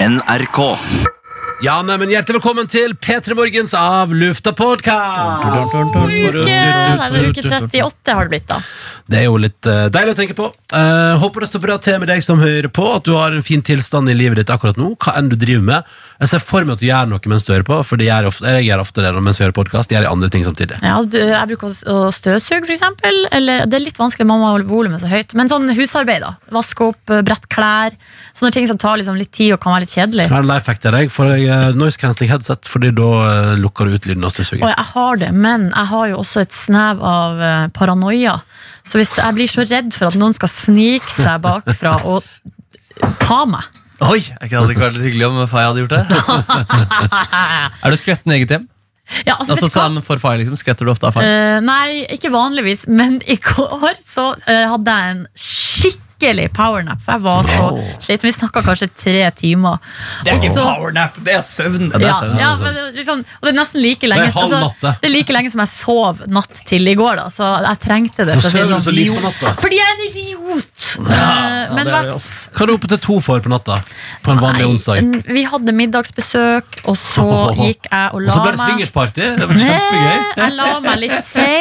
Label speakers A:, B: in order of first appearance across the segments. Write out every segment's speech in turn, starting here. A: NRK.
B: Ja, nei, men Hjertelig velkommen til P3 Morgens Av lufta podcast
C: Uke, nei, det er uke 38 har det blitt, da.
B: Det er jo litt eh, deilig å tenke på. Eh, håper det står bra til med deg som hører på, at du har en fin tilstand i livet ditt akkurat nå. Hva enn du driver med. Jeg ser for meg at du gjør noe mens du hører på, for det gjør jeg ofte, jeg gjør ofte det når- mens jeg hører podkast. Gjør jeg andre ting samtidig.
C: Ja, du, jeg bruker å s- å støvsuge, for eksempel. Eller, det er litt vanskelig, mamma holder volumet så høyt. Men sånn husarbeid, da. Vaske opp, eh, brette klær. Sånne ting som tar liksom litt tid og kan være litt kjedelig.
B: Jeg har en life hack til deg. Får jeg eh, noise cancelling headset, fordi da eh, lukker du ut lyden av
C: Og
B: støvsuging.
C: jeg har det, men jeg har jo også et snev av eh, paranoia. Så hvis jeg blir så redd for at noen skal snike seg bakfra og ta meg
D: Oi, Det hadde ikke vært litt hyggelig om Fay hadde gjort det. er du skvetten i eget hjem?
C: Ja, altså, vet
D: Altså,
C: du hva?
D: som for Fay, liksom, Skvetter du ofte av Fay?
C: Eh, nei, ikke vanligvis, men i går så eh, hadde jeg en skikkelig powernap. For jeg var så sliten. Vi snakka kanskje tre timer.
E: Det er
C: Og
E: ikke
C: så-
E: powernap, det er søvn.
D: det er
C: Ja,
D: søvn,
C: ja, men det er liksom, og det er nesten like lenge
B: altså.
C: altså,
B: Det er halv natte.
C: det er like lenge som jeg sov natt til i går, da, så jeg trengte det.
B: Hvorfor
C: for å si det
B: sover du
C: sånn.
B: så lite på natta?
C: Fordi jeg er en idiot! Eh, men hvert-
B: Hva er du oppe til to for på natta? På altså. en vanlig
C: Nei,
B: onsdag?
C: en- vi hadde middagsbesøk, og så gikk jeg og
B: Og
C: la
B: så ble det
C: meg.
B: swingersparty? Det var kjempegøy.
C: Nei, Jeg la meg litt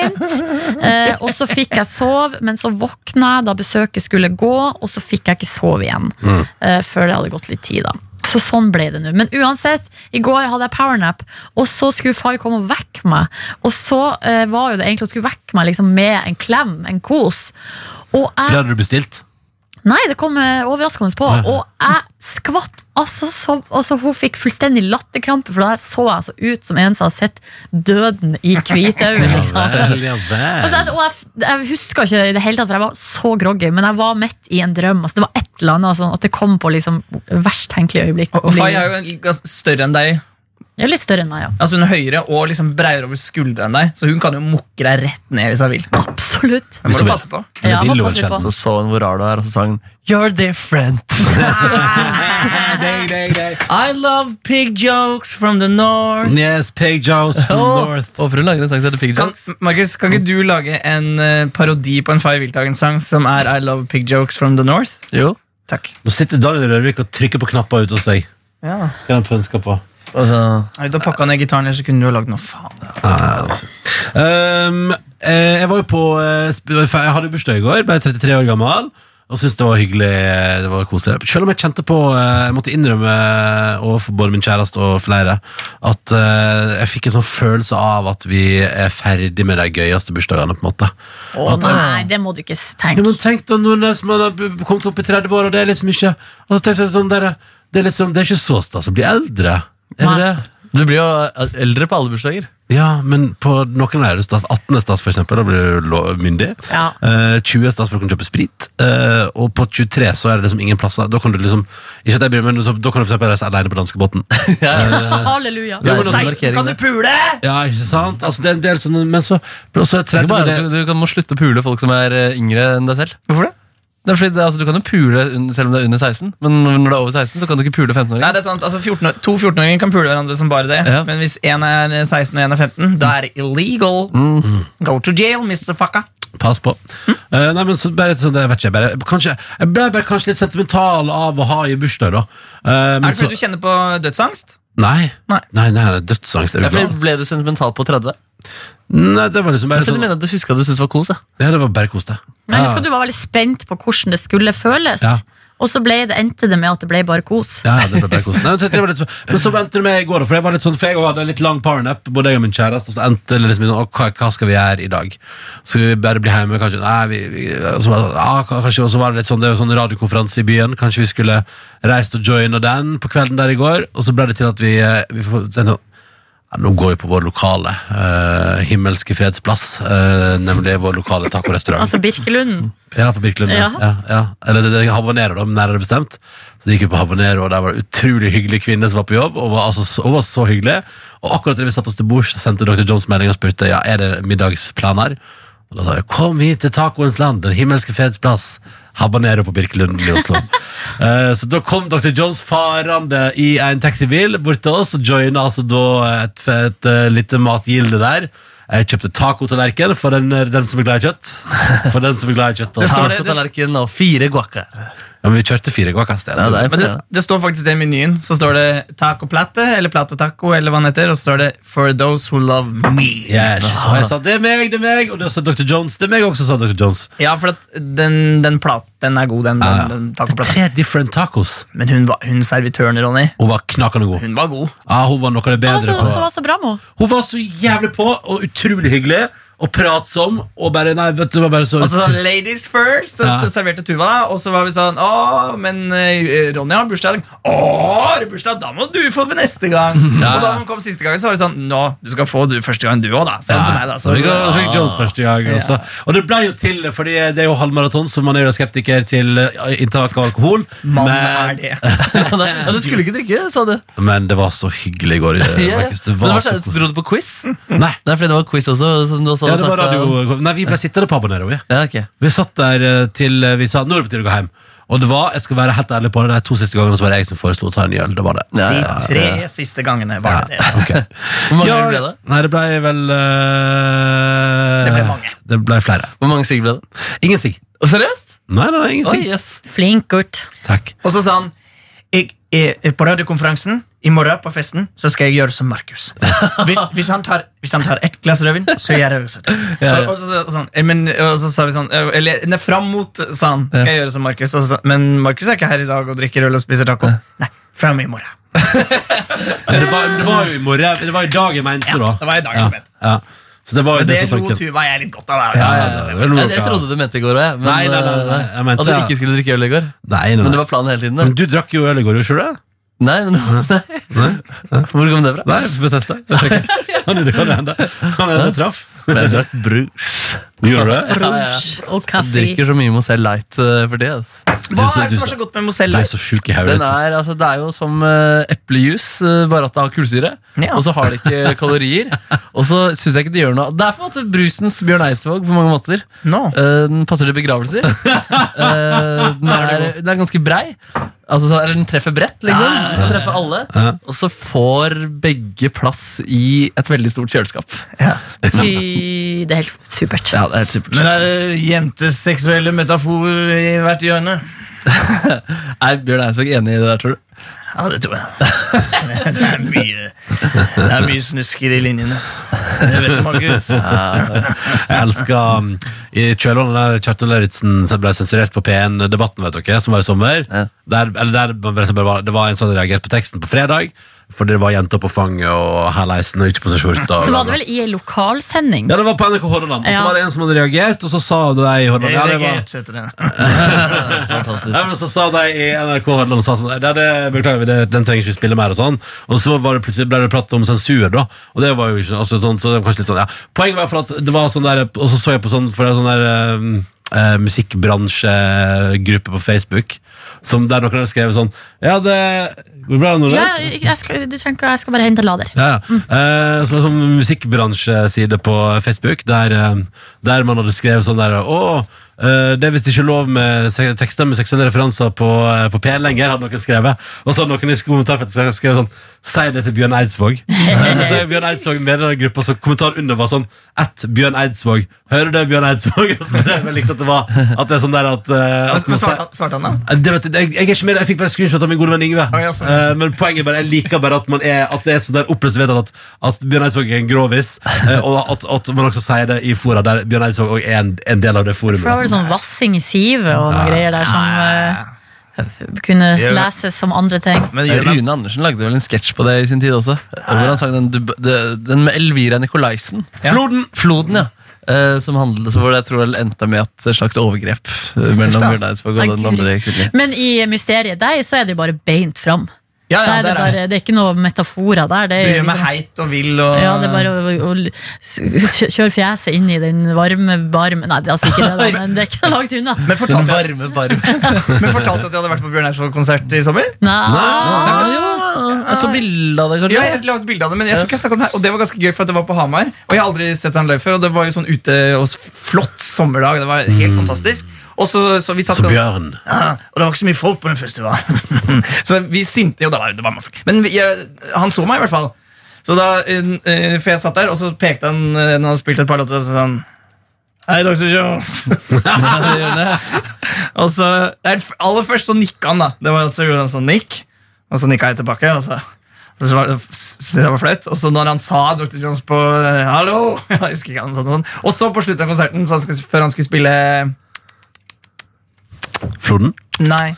C: sent eh, Og så fikk jeg sov Men så våkna jeg da besøket skulle gå Og så fikk jeg ikke sove igjen eh, Før det hadde gått litt tid da så sånn ble det nå, men uansett I går hadde jeg powernap, og så skulle far komme og vekke meg Og så eh, var jo det egentlig å skulle vekke meg liksom, Med en klem, en kos Og
B: For det
C: jeg,
B: hadde du bestilt?
C: nei det kom eh, overraskende på Og jeg skvatt altså, så, altså hun fikk fullstendig latterkrampe For da så jeg så ut som en som hadde sett Døden i hvite øyne liksom.
B: ja vel.
C: Altså, jeg, og jeg, f- jeg husker ikke i det hele tatt, for jeg var så groggy, men jeg var midt i en drøm. Altså, det var et eller annet sånn, at det kom på liksom, verst tenkelig øyeblikk.
E: Og Fay er jo en, gans- større enn deg.
C: Jeg er litt større enn meg, ja.
E: Altså Hun er høyere og liksom bredere over skuldra enn deg, så hun kan jo mukke deg rett ned hvis hun vil.
C: Absolutt.
E: Det må
B: Hvis hun
E: du
B: vil.
E: passe på.
B: Men
C: Ja,
B: det vil
C: hva
B: jo
C: passer
B: være altså.
C: på?
D: Så så hun hvor rar du er, og så sang hun You're different.
E: I love pig jokes from the north.
B: Yes, Pig Joes from North.
D: Håper hun lager en sang som heter Pig
E: Kan,
D: Jokes.
E: Markus, kan ikke du lage en eh, parodi på en Fay Wiltagen-sang som er I love pig jokes from the north?
D: Jo.
E: Takk.
B: Nå sitter Daniel Rørvik og trykker på knapper ute hos deg.
E: Ja.
B: Hva er det han ønsker på?
D: Altså,
E: Nei, Da pakka ned gitaren, ellers så kunne du ha lagd noe faen. Ja.
B: Ah, Um, eh, jeg var jo på eh, sp- Jeg hadde bursdag i går, ble 33 år gammel. Og syntes det var hyggelig. eh, Det var koselig Selv om jeg kjente på eh, Jeg måtte innrømme eh, overfor både min kjæreste og flere at eh, jeg fikk en sånn følelse av at vi er ferdig med de gøyeste bursdagene. på en måte
C: Å nei, det må du ikke s-
B: ja,
C: tenke.
B: men tenk da når det er som man har b- kommet opp i 30 år, og det er liksom ikke og så tenker jeg sånn der, det, er liksom, det er ikke så stas å bli eldre. Er det
C: Nei.
B: det?
D: du blir jo eh, eldre på alle bursdager.
B: Ja, men på noen av de stas 18. er stas for eksempel, da blir du lo- myndig
C: Ja.
B: Eh, 20 er stas for å kunne kjøpe sprit eh, Og på 23 så er det liksom ingen plasser Da kan du liksom, ikke at jeg bryr meg men så- Da kan du for eksempel reise alene på danskebåten
D: Eh,
C: Halleluja.
D: Det er jo
B: Hvordan-
D: sånn markering,
E: Kan du
D: det.
E: pule?!
B: Ja, ikke sant? Altså det er en del sånne Men så, og så er
D: Det er ikke
B: 30
D: bare
B: det,
D: at Du, du kan, må slutte å pule folk som er eh, yngre enn deg selv.
E: Hvorfor det?
D: Det er fordi det, altså, Du kan jo pule un- selv om du er under 16, men når du er over 16, så kan du ikke pule
E: Nei,
D: 15-åringer.
E: det er sant, altså 14, år- To 14-åringer kan pule hverandre som bare det,
D: Ja.
E: men hvis én er 16 og én er 15, da er det illegal. Go to jail, Mr. Fucka.
B: Pass på. Eh, nei, men så bare sånn, jeg vet ikke, jeg bare, kanskje, jeg ble bare kanskje litt sentimental av å ha i bursdag, da. Eh, men
E: Er det fordi du kjenner på dødsangst?
B: Nei. Nei,
E: Nei.
B: nei, det er dødsangst. Er du
D: Det er
B: glad?
D: fordi Ble du sentimental på 30?
B: Nei, det var liksom
D: Det
B: bare
D: er fordi du
B: sånn,
D: mener at du husker at du syntes var kos. Ja.
B: ja, det var bare kos, det.
C: Men jeg husker at du var veldig spent på hvordan det skulle føles.
B: Ja.
C: Og så ble det, endte det med at det ble bare kos.
B: Ja, ja, det ble bare kos. Nei, men, så- det var litt, så- men så endte det med i går, da, for jeg var litt sånn, for jeg hadde en litt lang powernap, både jeg og min kjæreste, og så endte det liksom i sånn, «Å, hva, hva skal vi gjøre i dag? Skal vi bare bli hjemme, kanskje? Nei, vi, vi og så, var det sånn, ah, kanskje, og så var det litt sånn, det var sånn radiokonferanse i byen, kanskje vi skulle reise og joine den på kvelden der i går, og så ble det til at vi, eh, vi får, tenkte sånn, Ja, nå går vi på vår lokale eh, himmelske fredsplass, eh, nemlig vår lokale taco-restaurant.
C: Altså Birkelunden.
B: Ja, på Birkelund. Ja.
C: Ja.
B: Ja, ja. Eller det, det, habanero, da, men nærmere bestemt. Så gikk vi på habanero, og der var det utrolig hyggelig kvinne som var på jobb. Og var, altså, så, og var så hyggelig. Og akkurat da vi satte oss til bords, så sendte dr. Jones melding og spurte ja, er det middagsplaner. Og da sa jeg kom hit til tacoens land, den himmelske freds plass. Habanero på Birkelund i Oslo. Eh, så da kom dr. Jones farende i en taxibil bort til oss og joina altså da et, et, eh, lite matgilde der. Jeg kjøpte tacotallerken for eh, den, den som er glad i kjøtt. For den som er glad i kjøtt. altså.
E: står det-
D: Taco, tallerken og fire guacar.
B: Ja, Ja, men vi kjørte fire guacas.
D: Ja, det er
E: Men det, det står faktisk det i menyen. Så står det tacoplate, eller plato taco, eller hva den heter. Og så står det 'For those who love me'.
B: Yes. Og jeg sa det er meg, det er meg, og det sa Dr. Jones. Det er meg også, sa Dr. Jones.
E: Ja, for at den, den platen er god, den,
B: Ja, ja.
E: den, den tacoplaten.
B: Tre different tacos.
E: Men hun, var, hun servitøren, Ronny,
B: Hun var knakende god.
E: hun var god.
B: Ja, hun var noe av det
C: Hva
B: bedre
C: som Altså, som
B: på.
C: var så bra med henne?
B: Hun var så jævlig på, og utrolig hyggelig, og pratsom, og bare Nei, vet du, det var bare så
E: Og så sånn 'Ladies first', og
B: Ja.
E: så serverte Tuva da. Og så var vi sånn 'Å, men eh, Ronny har bursdag i dag'. 'Å, har du bursdag? Da må du få for neste gang'. Og da hun kom siste gangen, så var det sånn 'Nå, du skal få du første gang, du òg', da. Så
B: Ja,
E: til meg, da.
B: så
E: Så,
B: vi går- så fikk Jones første gang og så- Og det ble jo til, fordi det er jo halvmaraton Så man er jo skeptiker til eh, inntak av alkohol
E: Mann
B: men,
E: er det.
D: Ja, du skulle ikke drikke, sa du.
B: men det var så hyggelig i går eh,
D: Ja, ja.
B: Markus. Det
D: Men
B: var
D: hva
B: så
D: skjedde?
B: koselig
D: Dro du på quiz?
B: Nei,
D: Det er Mm. fordi det var quiz også. Som du også
B: ja,
D: hadde
B: det var
D: snakket om.
B: radio Nei, vi ble sittende på abonnere vi.
D: Ja, ok.
B: vi satt der eh, til eh, vi sa Nå er det på tide å gå hjem Og det var, jeg skal være helt ærlig på det De to siste gangene så var det jeg som foreslo å ta en øl Det var det
D: Ja,
E: De
D: ja.
E: tre siste gangene var det det.
B: Ok.
D: Hvor mange ble det?
B: Nei, det ble vel eh,
E: Det ble mange.
B: Det ble flere
D: Hvor mange sigg ble det?
B: Ingen sigg
D: Å, Seriøst?
B: Nei, nei, nei, ingen
D: Oi,
B: sigg
D: jøss.
C: Flink gutt.
B: Takk
E: Og så sa han jeg, jeg, På radiokonferansen i morgen på festen så skal jeg gjøre som Markus. Hvis, hvis, han tar- hvis han tar ett glass rødvin, så gjør jeg også det.
D: Ja, ja.
E: Og, og, så, sa- sånn, eh, men, og så sa vi sånn eh, Eller nei, fram mot, sa han. Skal jeg gjøre som Markus? Og så sa- Men Markus er ikke her i dag og drikker øl og spiser taco. Nei, fram i morgen.
B: Men det var, det var jo i morgen Det var i dag jeg mente da
E: Det var i dag.
B: ja,
E: jeg vet.
B: ja. Så det var jo
E: Men
B: det
E: det
B: som var
E: lo
B: tanken
E: Tuva jeg litt godt av. da.
B: Ja, ja, ja, det lo
D: Jeg,
B: dere
D: jeg
B: av.
D: trodde du mente i går òg, jeg. Men,
B: Nei, nei, nei, nei, nei, jeg mente
D: at du
B: det.
D: ikke skulle drikke øl i går.
B: Nei, nei,
D: Men det
B: nei
D: var planen hele tiden.
B: Men
D: Da.
B: du drakk jo øl i går, gjorde ikke du det?
D: Nei, nei, nei. Hvor kom det fra?
B: Nei, vi får teste Jeg sjekker. Kan det kan det hende Kan det hende jeg traff
D: Men jeg drakk brus.
B: Gjorde du det?
D: Ja, ja.
C: Rouge og
D: Jeg
C: kaffe.
D: drikker så mye Moselle Light eh, for det. altså.
E: Hva
B: Du så-
E: er
B: du
E: det som
B: så-
E: var så godt med
B: Du
E: Mosella?
B: er så sjuk i hodet
D: Den
B: ditt.
D: er, altså, det er jo som eh, eplejus, eh, bare at det har kullsyre.
E: Ja.
D: Og så har det ikke kalorier. Og så syns jeg ikke det gjør noe. Det er på en måte brusens Bjørn Eidsvåg på mange måter.
E: Nå.
D: Eh, den passer til begravelser. Eh, den, er, den er ganske brei. Altså, så- eller den treffer bredt, liksom. Den treffer alle. Og så får begge plass i et veldig stort kjøleskap.
C: Ty, det er helt supert.
D: Ja, det er helt supert.
E: Men er det jentes seksuelle metaforer i hvert hjørne?
D: Er Bjørn Eidsvåg enig i det der, tror du?
E: Ja, det tror jeg. Det er mye, det er mye snusker i linjene. Det vet du, Markus.
B: Jeg elsker um, I kjølvannet der Kjartan Lauritzen som ble sensurert på P1-debatten, vet dere, som var i sommer. Der, eller der, man bare- bare var- det var en som hadde reagert på teksten på fredag, fordi det var jenter på fanget og herleisen og ikke på seg skjorte. og-
C: Så var det vel i en lokalsending.
B: Ja, det var på NRK Hordaland. Og så
C: Ja.
B: var det en som hadde reagert, og så sa de i Hordaland ja, det var,
E: Hva
B: ja, men så sa de i NRK Hordaland sa sånn, ja, det, Beklager, vi, det, den trenger ikke vi spille mer, og sånn. Og så var det plutselig ble det prat om sensur, da. Og det var jo ikke altså, sånn, så det var kanskje litt sånn, ja. Poenget var i hvert fall at det var sånn der Og så så jeg på sånn For det er sånn der um, eh, musikkbransjegruppe på Facebook, som der noen hadde skrevet sånn Ja, det går bra, Nordnes.
C: Ja, jeg skal, du trenger ikke, jeg skal bare hente lader.
B: Ja, ja. Eh, så det var sånn musikkbransjeside på Facebook, der, eh, der man hadde skrevet sånn der Å, eh, det er visst ikke lov med se- tekster med seksuelle referanser på, eh, på P1 lenger, hadde noen skrevet. Og så hadde noen i kommentarfeltet sk- skrevet sånn Si det til Bjørn Eidsvåg. Eh, så er Bjørn Eidsvåg med i den gruppa, så kommentaren under var sånn At Bjørn Eidsvåg. Hører du det, Bjørn Eidsvåg? Og så ble jeg veldig likte at det var At det er sånn der at, eh, at man sier-
E: svarte han, da?
B: Eh, det vet, jeg, jeg er ikke med det. Jeg fikk bare screenshot av min gode venn Yngve.
E: Å, ja, sant.
B: Eh, men poenget er bare, jeg liker bare at, man er, at det er så der oppløst vedtatt at, at Bjørn Eidsvåg er en grovis, eh, og at, at man også sier det i fora der Bjørn Eidsvåg også er en, en del av det forumet.
C: For da var det sånn vassing i sivet og noen greier der som eh, kunne
E: Ja.
C: leses som andre ting.
E: Men det gjør meg-
D: Rune Andersen lagde vel en sketsj på det i sin tid også. Hvor han sang den, dub- de- den med Elvira Nikolaisen.
B: Floden!
D: Floden, ja. Eh, som handlet, så hvor det jeg tror vel endte med et slags overgrep eh, mellom
E: da.
D: Bjørn Eidsvåg og
C: Nei,
D: den
C: Gud.
D: andre kvinnen.
C: Men i Mysteriet deg så er det jo bare beint fram.
E: Ja,
C: Der
E: ja,
C: er det,
E: der er det.
C: bare, det er ikke noe metaforer der. Det
E: Du
C: er jo
E: gjør meg
C: liksom,
E: heit og vill og
C: ja, det er bare å, å, å s- kjøre fjeset inn i den varme barmen Nei, det er altså ikke det, da, men det er ikke langt unna.
E: men
D: Den
E: fortalte, jeg,
D: varme, varme
E: men fortalte at jeg hadde vært på Bjørn Eidsvåg-konsert i sommer?
C: Nei.
D: ah, ja. Jeg så bilde av det,
E: Ja,
D: kanskje?
E: jeg la ut bilde av det, men jeg tror ikke jeg snakket om det her. Og det var ganske gøy, for at det var på Hamar. Og jeg har aldri sett han live før, og det var jo sånn ute hos flott sommerdag. Det var helt fantastisk. Og så, så vi satt
B: Mm. Så Bjørn.
E: Ja, og det var ikke så mye folk på den festivalen. så vi syntes Jo, det var, det var mye folk. Men vi, jeg, han så meg i hvert fall. Så da, eh, eh, For jeg satt der, og så pekte han eh, når han hadde spilt et par låter, og så sa han Hei, Dr. Jones. og så, det er, aller først så nikka han, da. Det var altså gjorde han sånn nikk, og så nikka jeg tilbake. og så... Så var det, så det var flaut. Og så når han sa Dr. Jones på eh, 'hallo' jeg husker ikke hva han sa sånn. Og så på slutten av konserten, så han skulle, før han skulle spille
B: Floden.
E: Nei.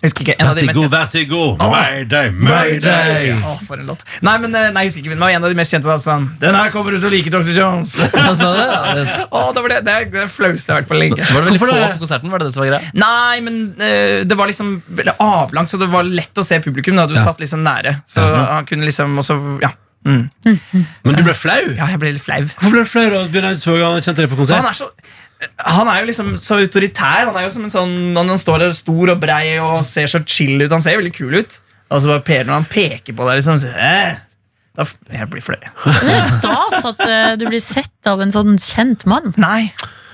E: Jeg husker ikke. En av de mest
B: Vertigo, vertigo! Mayday, mayday!
E: Å, for en låt. Nei, men eh, nei, jeg husker ikke, men det var en av de mest kjente. da, sa han, Den her kommer du til å like, Dr. Jones.
D: Hva sa du? Ja, det-
E: Å, det var det, det er det flaueste jeg har vært på lenge.
D: Var det veldig
B: Hvorfor
D: få
B: det?
D: på konserten? Var det det som var greia?
E: Nei, men eh, det var liksom veldig avlangt, så det var lett å se publikum. da, Du
B: Ja.
E: satt liksom nære. Så
B: Ja.
E: han kunne liksom også ja. Mm.
B: Men du ble flau?
E: ja, Sånn, jeg ble litt flau.
B: Hvorfor ble du flau da Bjørn Eidsvåg han kjente deg på
E: Så Han
B: konsert?
E: er, så, han er jo liksom så autoritær. Han er jo som en sånn, han, han står der stor og brei og ser så chill ut. Han ser veldig kul ut. Og så bare per, når han peker på deg, liksom, så, eh, da f- jeg blir flau.
C: Det er stas at eh, du blir sett av en sånn kjent mann.
E: Nei.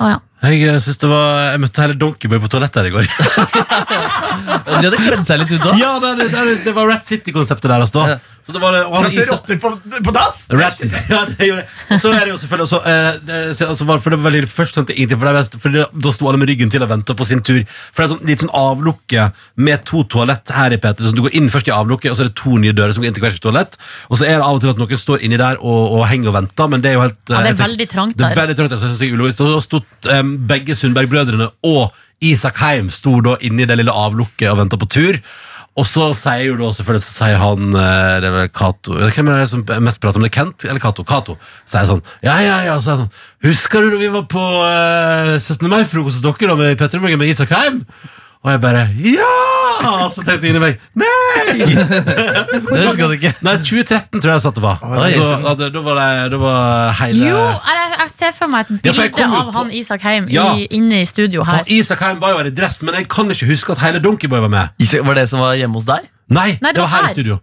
C: Å, ja.
B: Jeg, eh, synes det var, jeg møtte hele Donkeyboy på toalettet her i går.
D: De hadde kledd seg litt ut da.
B: ja, det, det, det, det var Rap City-konseptet deres da.
D: Ja.
B: Så det var det, og han
E: Traff du
B: is-
E: rotter på, på dass?
B: Rap City, ja, det gjorde jeg. Og så er det jo selvfølgelig også, eh, det- så- altså, var- For det var veldig først skjønte jeg ingenting, for, det, for det, da sto alle med ryggen til og venta på sin tur. For det er sånn, litt sånn avlukke med to toalett her i Peter. Så du går inn først i avlukket, og så er det to nye dører som går inn til hvert sitt toalett. Og så er det av og til at noen står inni der og, og henger og venter, men det er jo helt
C: Ja, det er
B: eh, jeg tenker-
C: veldig trangt
B: Det er
C: der.
B: veldig trangt der, så jeg synes det er ulogisk. Og så sto em, begge Sundberg-brødrene og Isak Heim sto da inni det lille avlukket og venta på tur. Og så sier jo da selvfølgelig så sier han eh, det er vel Kato Hvem er det som mest prater om det? Kent eller Kato? Kato sier sånn Ja, ja, ja. Så er han sånn, Husker du da vi var på eh, 17. mai-frokost hos dere da, med Petter Morgan med Isak Heim? Og jeg bare Ja! Så tenkte jeg inni meg Nei!
D: Det husker jeg ikke.
B: Nei, 2013 tror jeg jeg satt det var.
D: Oi.
B: Da, da, da var det, da var hele
C: Jo, jeg, jeg ser for meg et
B: Ja, for jeg
C: bilde
B: kom jo
C: av
B: på-
C: han Isak Heim
B: Ja.
C: i, inne i studio her.
B: For Isak Heim var jo her i dress, men jeg kan ikke huske at hele Donkeyboy var med.
D: Isak, Var det som var hjemme hos deg?
B: Nei, det,
C: det
B: var
C: var
B: her i
C: her.
B: studio.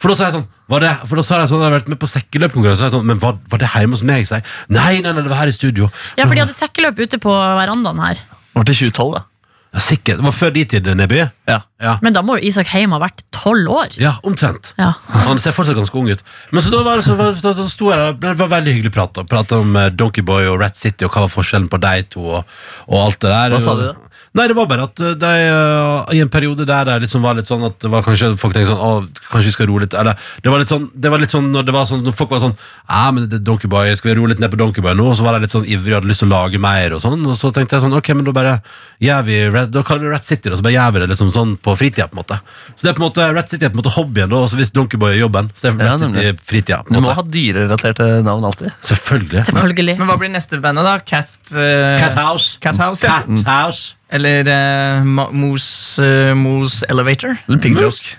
B: For da sa jeg sånn var det, For da sa jeg sånn, jeg har vært med på sekkeløpkonkurranse. så sa jeg Sånn, men var, var det hjemme hos meg? Sa jeg. Nei, nei, nei, det var her i studio.
C: Ja, for de hadde sekkeløp ute på verandaen her.
D: Var det 2012, da?
B: Ja, sikkert. Det var før de tid, Neby.
D: Ja.
B: Ja.
C: Men da må jo Isak Heim ha vært tolv år.
B: ja, omtrent.
C: Ja.
B: Han ser fortsatt ganske ung ut. Men så da var det så, var, så, så sto jeg der, men det var veldig hyggelig prat. da. Prate om eh, Donkeyboy og Rat City og hva var forskjellen på de to. Og, og alt det der
D: Hva sa de da?
B: Nei, det var bare at eh, de, eh, i en periode der det liksom var litt sånn at det var kanskje folk tenkte sånn Å, kanskje vi skal roe litt Eller det var litt sånn, det var litt sånn når det var sånn Når folk var sånn Ja, men det er Donkeyboy, skal vi roe litt ned på Donkeyboy nå? Og så var de litt sånn ivrige og hadde lyst til å lage mer og sånn. Og så tenkte jeg sånn Ok, men da bare gjør vi Red, Da kaller vi det Rat City, og så bare gjør vi det liksom sånn på fritida, på en måte. Så det er på en måte Rat City er på en måte hobbyen, da. Og så hvis Donkeyboy er jobben, så det er
D: Ja,
B: Rat City
D: nemlig.
B: fritida, på
D: Du
B: en
D: må
B: måte.
D: ha dyrerelaterte navn alltid.
B: Selvfølgelig.
C: Selvfølgelig.
E: Men hva blir neste bandet, da? Cat, eh,
B: Cat House.
E: Cat House, ja.
D: Mm.
B: Cat House.
E: Eller eh, Ma- Moose, eh, Moose Elevator?
D: Eller Piggjoke.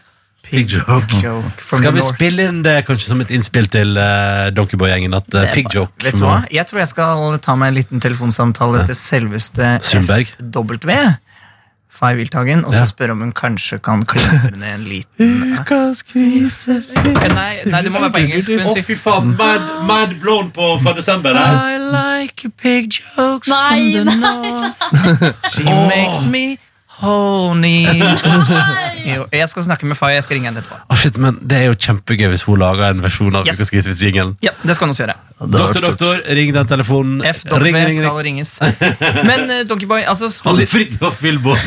B: Big joke.
E: Joke from
B: Mm. Skal
E: the
B: vi
E: North.
B: spille inn det kanskje som et innspill til uh, Donkeyboy-gjengen? At uh,
C: er
B: Pig Joke
E: Vet du hva? Jeg tror jeg skal ta meg en liten telefonsamtale til selveste
B: Sundberg.
E: FW. Fay Wilthagen, og
B: Ja.
E: så spørre om hun kanskje kan klippe ned en liten Eh, Nei, nei, det må være på engelsk. men si-
B: fy faen! Mad, blown på for desember. eh?
E: I like pig jokes
C: Nei,
E: from the north. She makes me horny. Jo, jeg skal snakke med Fay. Jeg skal ringe henne etterpå.
B: shit, men Det er jo kjempegøy hvis hun lager en versjon av
E: Yes.
B: yes. jingelen
E: Ja, det skal hun også gjøre.
B: Doktor, doktor, ring den telefonen.
E: FW
B: ring, ring, ring.
E: skal ringes. Men uh, Donkeyboy altså, sto-
B: Altså, Fridtjof Wilborg.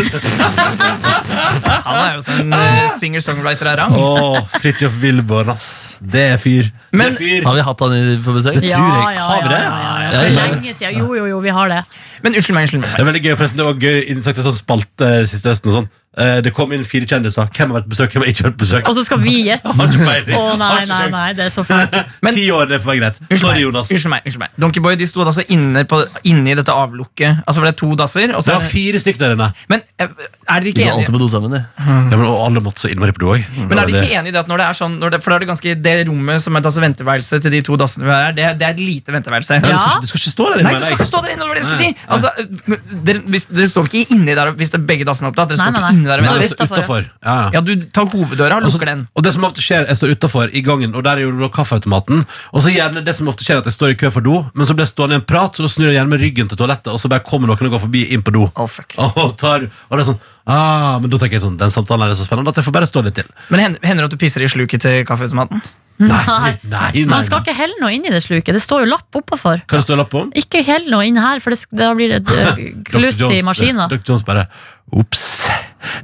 E: Han er jo sånn eh, singer-songwriter av rang.
B: Å, Fridtjof Wilborg, ass. Det er fyr.
E: Men-
B: det er fyr.
D: Har vi hatt han i- på besøk?
B: Det- tror jeg. Har vi det?
C: ja, ja.
D: Ja,
C: For
D: ja.
C: lenge siden. Jo, jo, jo, vi har det.
E: Men unnskyld meg. unnskyld meg
B: Det er veldig gøy, forresten. Det var gøy innsagt en sånn spalte eh, siste høsten. og sånn Eh, Det kom inn fire kjendiser. Hvem har vært på besøk, hvem har ikke vært på besøk?
C: Og så skal vi gjette.
B: Har
C: Altså- Å
B: ikke peiling. Har
C: nei,
B: ikke
C: nei,
B: sjans.
C: nei, det er så fælt.
E: Men-
B: Ti år, det får være greit.
E: Unnskyld
B: Sorry,
E: meg,
B: Jonas.
E: Unnskyld meg, unnskyld meg Donkeyboy de sto altså inne, på, inne i dette avlukket. Altså for det er to dasser.
B: Det
E: Og så
B: var
E: er det,
B: fire stykk der inne.
E: men eh, er dere
D: De
E: ikke
D: går alltid
E: enige
D: på do sammen, de.
B: Ja, men, og alle måtte så innmari på do òg.
E: Mm. men er de ikke enige i det at når det er sånn når det, For da er det ganske det rommet som er altså venteværelse til de to dassene vi har her, det, det er et lite venteværelse.
B: Du
C: Ja.
B: skal, ikke- du skal ikke stå der inne,
E: Nei,
B: mener
E: du skal
B: jeg.
E: ikke stå der inne! Det var det jeg skulle
B: Nei,
E: si! Altså, eh, dere, hvis, dere står ikke inni der hvis det er begge dassene er opptatt.
C: Nei,
E: Dere står
C: nei,
E: ikke inni
C: nei.
E: der og
C: Nei,
E: venter.
B: altså-
C: det står utenfor.
B: utenfor. Ja, ja.
E: Ja, du tar hoveddøra og
B: Og så-
E: lukker den.
B: og det som ofte skjer, Jeg står utenfor i gangen, og der er jo da kaffeautomaten. Og så gjerne det som ofte skjer at jeg står i kø for do, men så blir jeg stående i en prat, så da snur jeg gjerne med ryggen til toalettet, og så bare kommer noen og går forbi inn på do.
E: Å, fuck.
B: Og, tar, og det er sånn ah, Men da tenker jeg sånn Den samtalen her er så spennende at jeg får bare stå litt til.
E: Men hender, hender det at du pisser i sluket til kaffeautomaten?
B: Nei, nei, nei,
C: Man skal
B: nei.
C: ikke helle noe inn i det sluket. Det står jo lapp oppafor.
B: Kan det stå lapp om?
C: Ikke hell noe inn her, for det, da blir det eh, kluss i maskina.
B: Dr. Jones bare Ops,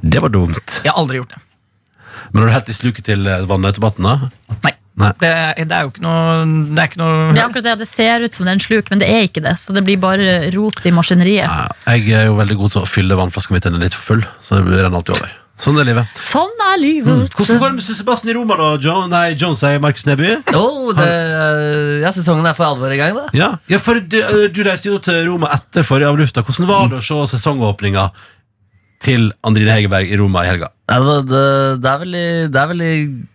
B: det var dumt.
E: Jeg har aldri gjort det.
B: Men har du helt i sluket til eh, vannautomaten, da?
E: Nei.
B: Nei.
E: Det, det er jo ikke noe Det er ikke noe
C: Det er akkurat det, det ser ut som det er en sluk, men det er ikke det. Så det blir bare rot i maskineriet.
B: Ja, eh, Jeg er jo veldig god til å fylle vannflaska mi til den er litt for full. Så det renner alltid over. Sånn er livet.
C: Sånn er livet.
B: Mm. Hvordan går det med Sussebassen i Roma, da? Jo nei, Jones sier Markus Neby.
D: Oh, det, ja, sesongen er for alvor i gang, da.
B: Ja, ja for du, eh, du reiste jo til Roma etter forrige avlufta. Hvordan var det å se sesongåpninga til Andrine Hegerberg i Roma i helga?
D: Ja, det, var- det, det, er veldig, det, er veldig,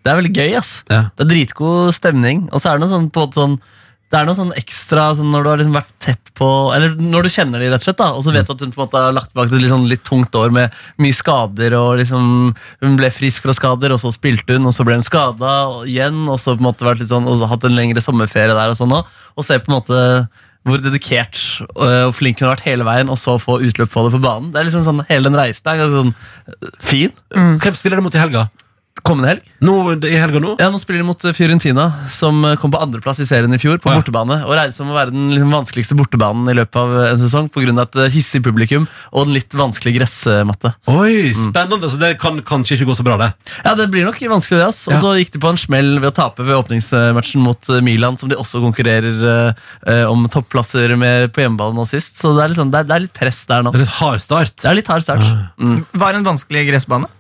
D: det er veldig gøy, ass.
B: Ja.
D: Det er dritgod stemning. Og så er det noe sånn, på en måte sånn det er noe sånn ekstra sånn når du har liksom vært tett på Eller når du kjenner de rett og slett, da og så vet du at hun på en måte har lagt bak et litt, sånn, litt tungt år med mye skader. Og liksom Hun ble frisk fra skader, og så spilte hun, og så ble hun skada igjen. Og så på en måte vært litt sånn Og så hatt en lengre sommerferie der og sånn òg. Og se på en måte hvor dedikert øh, og flink hun har vært hele veien, og så få utløp på det på banen. Det er liksom sånn Hele den reisen er ganske sånn øh, fin.
B: Hvem spiller det mot i helga?
D: Kommende helg.
B: Nå, I helga nå?
D: Ja, Nå spiller de mot eh, Fiorentina, som eh, kom på andreplass i serien i fjor. på
B: Ja.
D: bortebane, Og regnes som å være den liksom, vanskeligste bortebanen i løpet av eh, en sesong pga. et eh, hissig publikum og en litt vanskelig gressmatte.
B: Oi, spennende! Så det kan kanskje ikke gå så bra, det.
D: Ja, Det blir nok vanskelig, det. ass. Og så gikk de på en smell ved å tape ved åpningsmatchen mot eh, Milan, som de også konkurrerer eh, eh, om topplasser med på hjemmebane nå sist. Så det er litt, sånn, det er, det er litt press der nå.
B: Det er litt hard start.
D: Det er litt hard start. Mm.
E: Var en vanskelig gressbane.